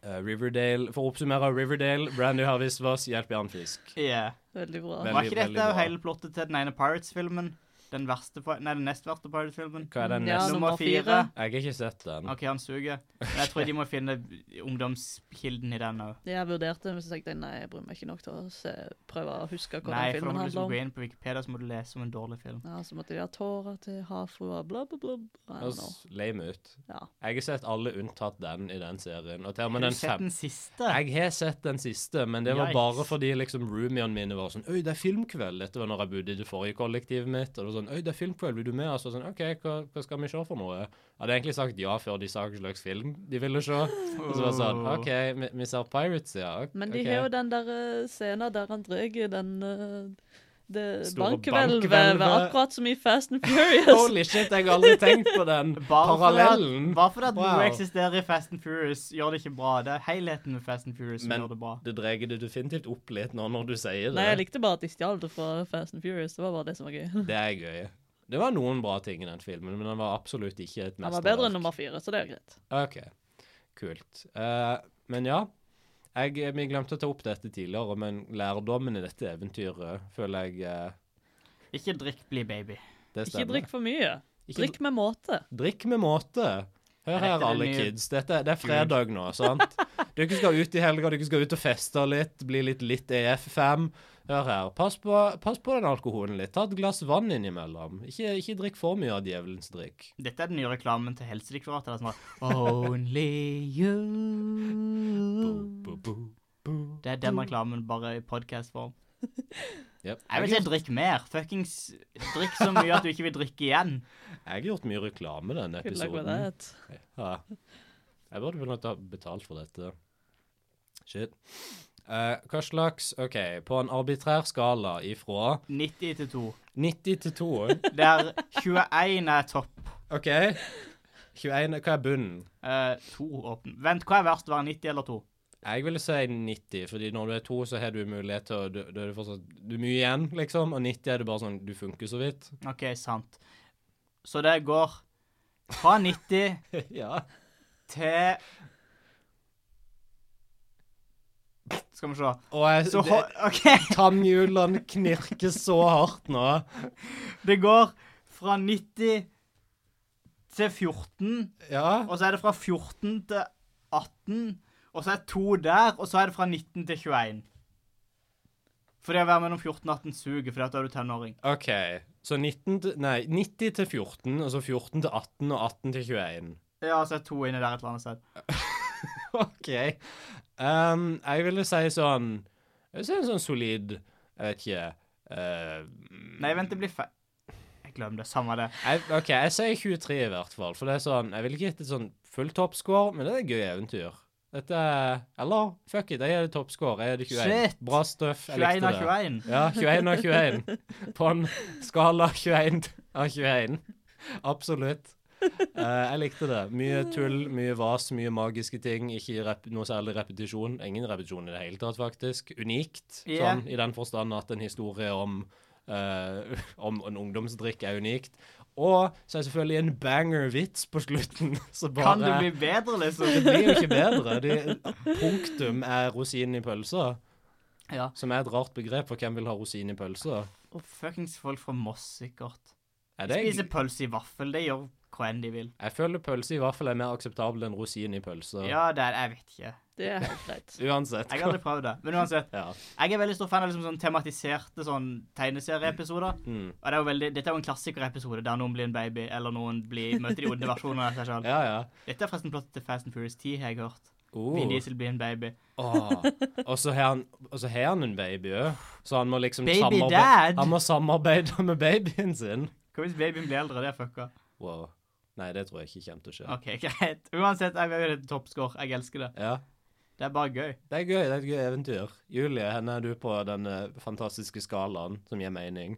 [SPEAKER 2] Eh, Riverdale For å oppsummere Riverdale, Brandy Harvisvas, hjelp jernfisk.
[SPEAKER 1] Yeah.
[SPEAKER 3] Veldig bra.
[SPEAKER 2] Veldig,
[SPEAKER 1] Var ikke dette
[SPEAKER 2] veldig bra.
[SPEAKER 1] jo hele plottet til den ene Pirates-filmen? Den verste, Pi- nei, den nest verste Pirates-filmen?
[SPEAKER 2] Hva er den
[SPEAKER 3] Ja,
[SPEAKER 2] neste?
[SPEAKER 1] Nummer
[SPEAKER 3] nummer
[SPEAKER 1] fire.
[SPEAKER 3] fire.
[SPEAKER 2] Jeg har ikke sett den.
[SPEAKER 1] OK, han suger. Men jeg tror de må finne ungdomskilden i den òg.
[SPEAKER 3] Det jeg vurderte, men så tenkte jeg nei, jeg bryr meg ikke nok til å se, prøve å huske hva
[SPEAKER 1] Nei, for da
[SPEAKER 3] den filmen
[SPEAKER 1] må du liksom gå
[SPEAKER 3] handler om.
[SPEAKER 1] inn på Wikipedia så må du lese om en dårlig film.
[SPEAKER 3] Ja, så måtte de ha tårer til havfrua, bla, bla, bla. I don't know.
[SPEAKER 2] Høres lame ut.
[SPEAKER 3] Ja.
[SPEAKER 2] Jeg har sett alle unntatt den i den serien. Og til og
[SPEAKER 1] Har
[SPEAKER 2] med
[SPEAKER 1] du
[SPEAKER 2] den
[SPEAKER 1] sett
[SPEAKER 2] fem...
[SPEAKER 1] den siste?
[SPEAKER 2] Jeg har sett den siste, men det var
[SPEAKER 1] Yikes.
[SPEAKER 2] bare fordi liksom roomiene mine var sånn Øy, det er filmkveld. Dette var når jeg bodde i det forrige kollektivet mitt. Og det var sånn Øy, det er filmkveld, vil du med? Og så var jeg sånn OK, hva, hva skal vi se for noe? Jeg hadde egentlig sagt ja før de sa hva slags film de ville se. Og så var det
[SPEAKER 1] Oh.
[SPEAKER 2] sånn OK, vi, vi ser Pirates, ja. Ok,
[SPEAKER 3] Men de
[SPEAKER 2] ok.»
[SPEAKER 3] har jo den der eh, scenen der han drar den eh, det
[SPEAKER 2] Store
[SPEAKER 3] bankhvelvet,
[SPEAKER 2] bankhvelvet.
[SPEAKER 3] akkurat som i Fast and Furious.
[SPEAKER 2] *laughs* Holy shit, jeg har aldri tenkt på den
[SPEAKER 1] Bare
[SPEAKER 2] parallellen.
[SPEAKER 1] Fordi at, bare fordi at
[SPEAKER 2] Wow.
[SPEAKER 1] noe eksisterer i Fast and Furious, gjør det ikke bra. Det er helheten med Fast and Furious som
[SPEAKER 2] Men-
[SPEAKER 1] gjør det bra.
[SPEAKER 2] Det drar det definitivt opp litt nå når du sier det.
[SPEAKER 3] Nei, jeg likte bare at de stjal det fra Fast and Furious. Det var bare det som var gøy.
[SPEAKER 2] Det er gøy. Det var noen bra ting i den filmen, men den var absolutt ikke et
[SPEAKER 3] Han var bedre
[SPEAKER 2] mesterverk.
[SPEAKER 3] enn nummer fire, så det er greit.
[SPEAKER 2] OK. Kult. Eh, men ja. Jeg, vi glemte å ta opp dette tidligere, men lærdommen i dette eventyret føler jeg eh,
[SPEAKER 1] Ikke drikk, bli baby.
[SPEAKER 2] det
[SPEAKER 3] Ikke
[SPEAKER 2] stemmer.
[SPEAKER 3] drikk for mye.
[SPEAKER 2] Ikke
[SPEAKER 3] Drikk med måte.
[SPEAKER 2] dri- drikk med måte. Hør
[SPEAKER 1] Dette
[SPEAKER 2] her,
[SPEAKER 1] er
[SPEAKER 2] alle
[SPEAKER 1] ny-
[SPEAKER 2] kids. Dette, det er fredag nå,
[SPEAKER 1] *laughs*
[SPEAKER 2] sant? Dere skal ut i helga, dere skal ut og feste litt, bli litt litt EF5. Hør her, pass på, pass på den alkoholen litt. Ta et glass vann innimellom. Ikke, ikke drikk for mye av djevelens drikk.
[SPEAKER 1] Dette er den nye reklamen til Helsedirektoratet. Det er sånn der, Only you.
[SPEAKER 2] Bo, bo, bo.
[SPEAKER 1] Det er den reklamen, bare i podcastform.
[SPEAKER 2] Yep.
[SPEAKER 1] Jeg vil si drikk mer. Fuckings drikk så mye at du ikke vil drikke igjen.
[SPEAKER 2] Jeg har gjort mye reklame denne
[SPEAKER 3] Good luck with
[SPEAKER 2] episoden.
[SPEAKER 3] that.
[SPEAKER 2] Ja. Jeg burde vel nok ha betalt for dette. Shit. Eh, hva slags OK, på en arbitrær skala ifra
[SPEAKER 1] 90 til 2.
[SPEAKER 2] 90 til *laughs* 2
[SPEAKER 1] Der 21 er topp.
[SPEAKER 2] OK. 21 Hva er bunnen?
[SPEAKER 1] Eh, to åpen. Vent, hva er verst? Være 90 eller 2?
[SPEAKER 2] Jeg ville si 90, fordi når du er to, så har du mulighet til å Da da er det fortsatt Du er mye igjen, liksom. Og 90 er det bare sånn Du funker så vidt.
[SPEAKER 1] OK, sant. Så det går fra 90
[SPEAKER 2] *laughs* ja.
[SPEAKER 1] til Skal vi se.
[SPEAKER 2] Og jeg,
[SPEAKER 1] Så
[SPEAKER 2] det,
[SPEAKER 1] ho- OK.
[SPEAKER 2] tannhjulene knirker så hardt nå.
[SPEAKER 1] Det går fra 90 til 14,
[SPEAKER 2] Ja.
[SPEAKER 1] og så er det fra 14 til 18, og så er det to der, og så er det fra 19 til 21. For det å være mellom 14 og 18 suger, for da er du tenåring.
[SPEAKER 2] OK. Så 19 til Nei, 90 til 14, og så 14 til 18, og 18 til 21.
[SPEAKER 1] Ja, så er det to inne der et eller annet sted.
[SPEAKER 2] *laughs* OK. Um, jeg ville si sånn Jeg vil si en sånn solid Jeg vet ikke eh,
[SPEAKER 1] Nei, vent, det blir feil. Jeg glemmer det. Samme det.
[SPEAKER 2] jeg, OK, jeg sier 23 i hvert fall, for det er sånn Jeg ville ikke gitt et sånn full toppscore, men det er et gøy eventyr. Dette er Eller fuck it, jeg gir det toppscore. Jeg gir det 21.
[SPEAKER 1] Shit!
[SPEAKER 2] Bra stuff.
[SPEAKER 1] 21
[SPEAKER 2] Jeg likte
[SPEAKER 1] av
[SPEAKER 2] det.
[SPEAKER 1] 21.
[SPEAKER 2] Mm. Ja, 21 av 21. På en skala 21 av 21. Absolutt. Eh, jeg likte det. Mye tull, mye vas, mye magiske ting. Ikke rep noe særlig repetisjon. Ingen repetisjon i det hele tatt, faktisk. Unikt,
[SPEAKER 1] Ja.
[SPEAKER 2] sånn, i den forstand at en historie om, eh, *laughs* om en ungdomsdrikk er unikt. Og så er det selvfølgelig en banger-vits på slutten. Så bare,
[SPEAKER 1] Kan det bli bedre,
[SPEAKER 2] Det
[SPEAKER 1] liksom?
[SPEAKER 2] blir jo ikke bedre. De, punktum er rosinen i pølsa,
[SPEAKER 1] Ja.
[SPEAKER 2] som er et rart begrep for hvem vil ha rosin i pølsa.
[SPEAKER 1] Og fuckings folk fra Moss, sikkert.
[SPEAKER 2] Er det
[SPEAKER 1] Spiser pølse i vaffel. Det gjør hva enn de vil.
[SPEAKER 2] Jeg føler pølse i vaffel er mer akseptabel enn rosin i pølse.
[SPEAKER 1] Ja, det er Jeg vet ikke.
[SPEAKER 3] Det er
[SPEAKER 2] *laughs*
[SPEAKER 3] helt greit.
[SPEAKER 2] Uansett.
[SPEAKER 1] Jeg har aldri prøvd det. Men uansett.
[SPEAKER 2] Ja.
[SPEAKER 1] Jeg er veldig stor fan av liksom sånn tematiserte sånn tegneserieepisoder.
[SPEAKER 2] Mm.
[SPEAKER 1] Og det er jo veldig, Dette er jo en klassikerepisode der noen blir en baby, eller noen blir, møter de onde versjonene av seg selv.
[SPEAKER 2] ja, ja.
[SPEAKER 1] Dette er forresten plottet til Fast and Furious 10, har jeg hørt. Vin
[SPEAKER 2] Oh.
[SPEAKER 1] Diesel blir en baby.
[SPEAKER 2] Åh. Og så har han, og så har han en baby òg, så han må liksom
[SPEAKER 1] Baby
[SPEAKER 2] samarbe-
[SPEAKER 1] dad!
[SPEAKER 2] Han må samarbeide med babyen sin.
[SPEAKER 1] Hva hvis babyen blir eldre? Det er fucka.
[SPEAKER 2] Wow. Nei, det tror jeg ikke kommer til å skje.
[SPEAKER 1] OK, *laughs* greit. Uansett, jeg vil ha toppscore. Jeg elsker det.
[SPEAKER 2] Ja.
[SPEAKER 1] Det er bare gøy.
[SPEAKER 2] Det er gøy. Det er et gøy eventyr. Julie, henne er du på den eh, fantastiske skalaen som gir mening.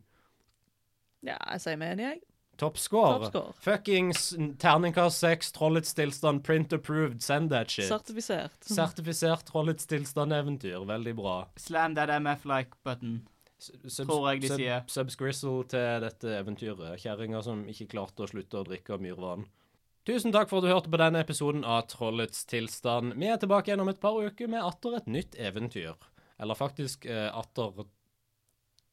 [SPEAKER 3] Ja, jeg sier meg enig, jeg.
[SPEAKER 2] Toppscore.
[SPEAKER 3] Toppscore.
[SPEAKER 2] Fuckings terningkast seks, trollets tilstand, print approved, send that shit.
[SPEAKER 3] Sertifisert.
[SPEAKER 2] Sertifisert trollets tilstand-eventyr. Veldig bra.
[SPEAKER 1] Slam that MF-like-button.
[SPEAKER 2] Subs-
[SPEAKER 1] Tror jeg de sier.
[SPEAKER 2] Subsgrizzle til dette eventyret. Kjerringa som ikke klarte å slutte å drikke av myrvann. Tusen takk for at du hørte på denne episoden av Trollets tilstand. Vi er tilbake igjen om et par uker med atter et nytt eventyr. Eller faktisk eh, atter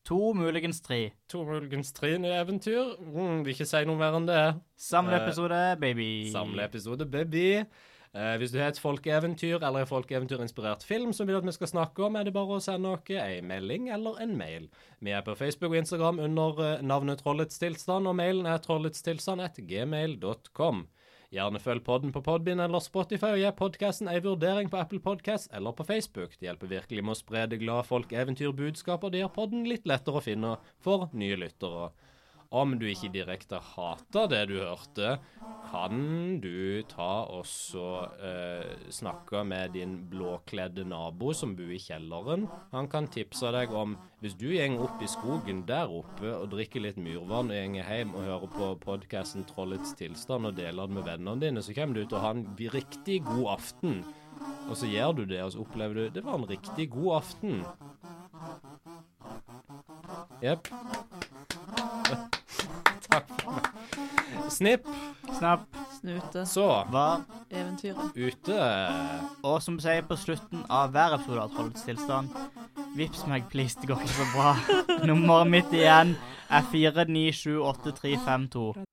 [SPEAKER 1] To, muligens tre.
[SPEAKER 2] to muligens tre nye eventyr. Mm, vil ikke si noe mer enn det.
[SPEAKER 1] Samleepisode,
[SPEAKER 2] Eh,
[SPEAKER 1] baby.
[SPEAKER 2] Samleepisode, baby. Eh, hvis du har et folkeeventyr eller en folkeeventyrinspirert film som vil at vi skal snakke om, er det bare å sende oss en melding eller en mail. Vi er på Facebook og Instagram under eh, navnet Trollets tilstand, og mailen er trolletstilstand.gmail.com. Gjerne følg podden på Podbind eller Spotify, og gi podkasten ei vurdering på Apple Podcast eller på Facebook. Det hjelper virkelig med å spre det glade folkeeventyrbudskapet, og det gjør podden litt lettere å finne for nye lyttere. Om du ikke direkte hater det du hørte, kan du ta og så eh, snakke med din blåkledde nabo som bor i kjelleren. Han kan tipse deg om Hvis du går opp i skogen der oppe og drikker litt myrvann og går hjem og hører på podkasten 'Trollets tilstand' og deler den med vennene dine, så kommer du til å ha en riktig god aften. Og så gjør du det, og så opplever du Det var en riktig god aften. Jepp. Takk for meg. Snipp.
[SPEAKER 1] Snapp.
[SPEAKER 3] Snute.
[SPEAKER 2] Så
[SPEAKER 1] Var.
[SPEAKER 3] Eventyret.
[SPEAKER 2] ute
[SPEAKER 1] Og som vi sier på slutten av hver episode av Trollets tilstand Vips meg, please, *laughs* det går ikke så bra. Nummeret mitt igjen er 4978352.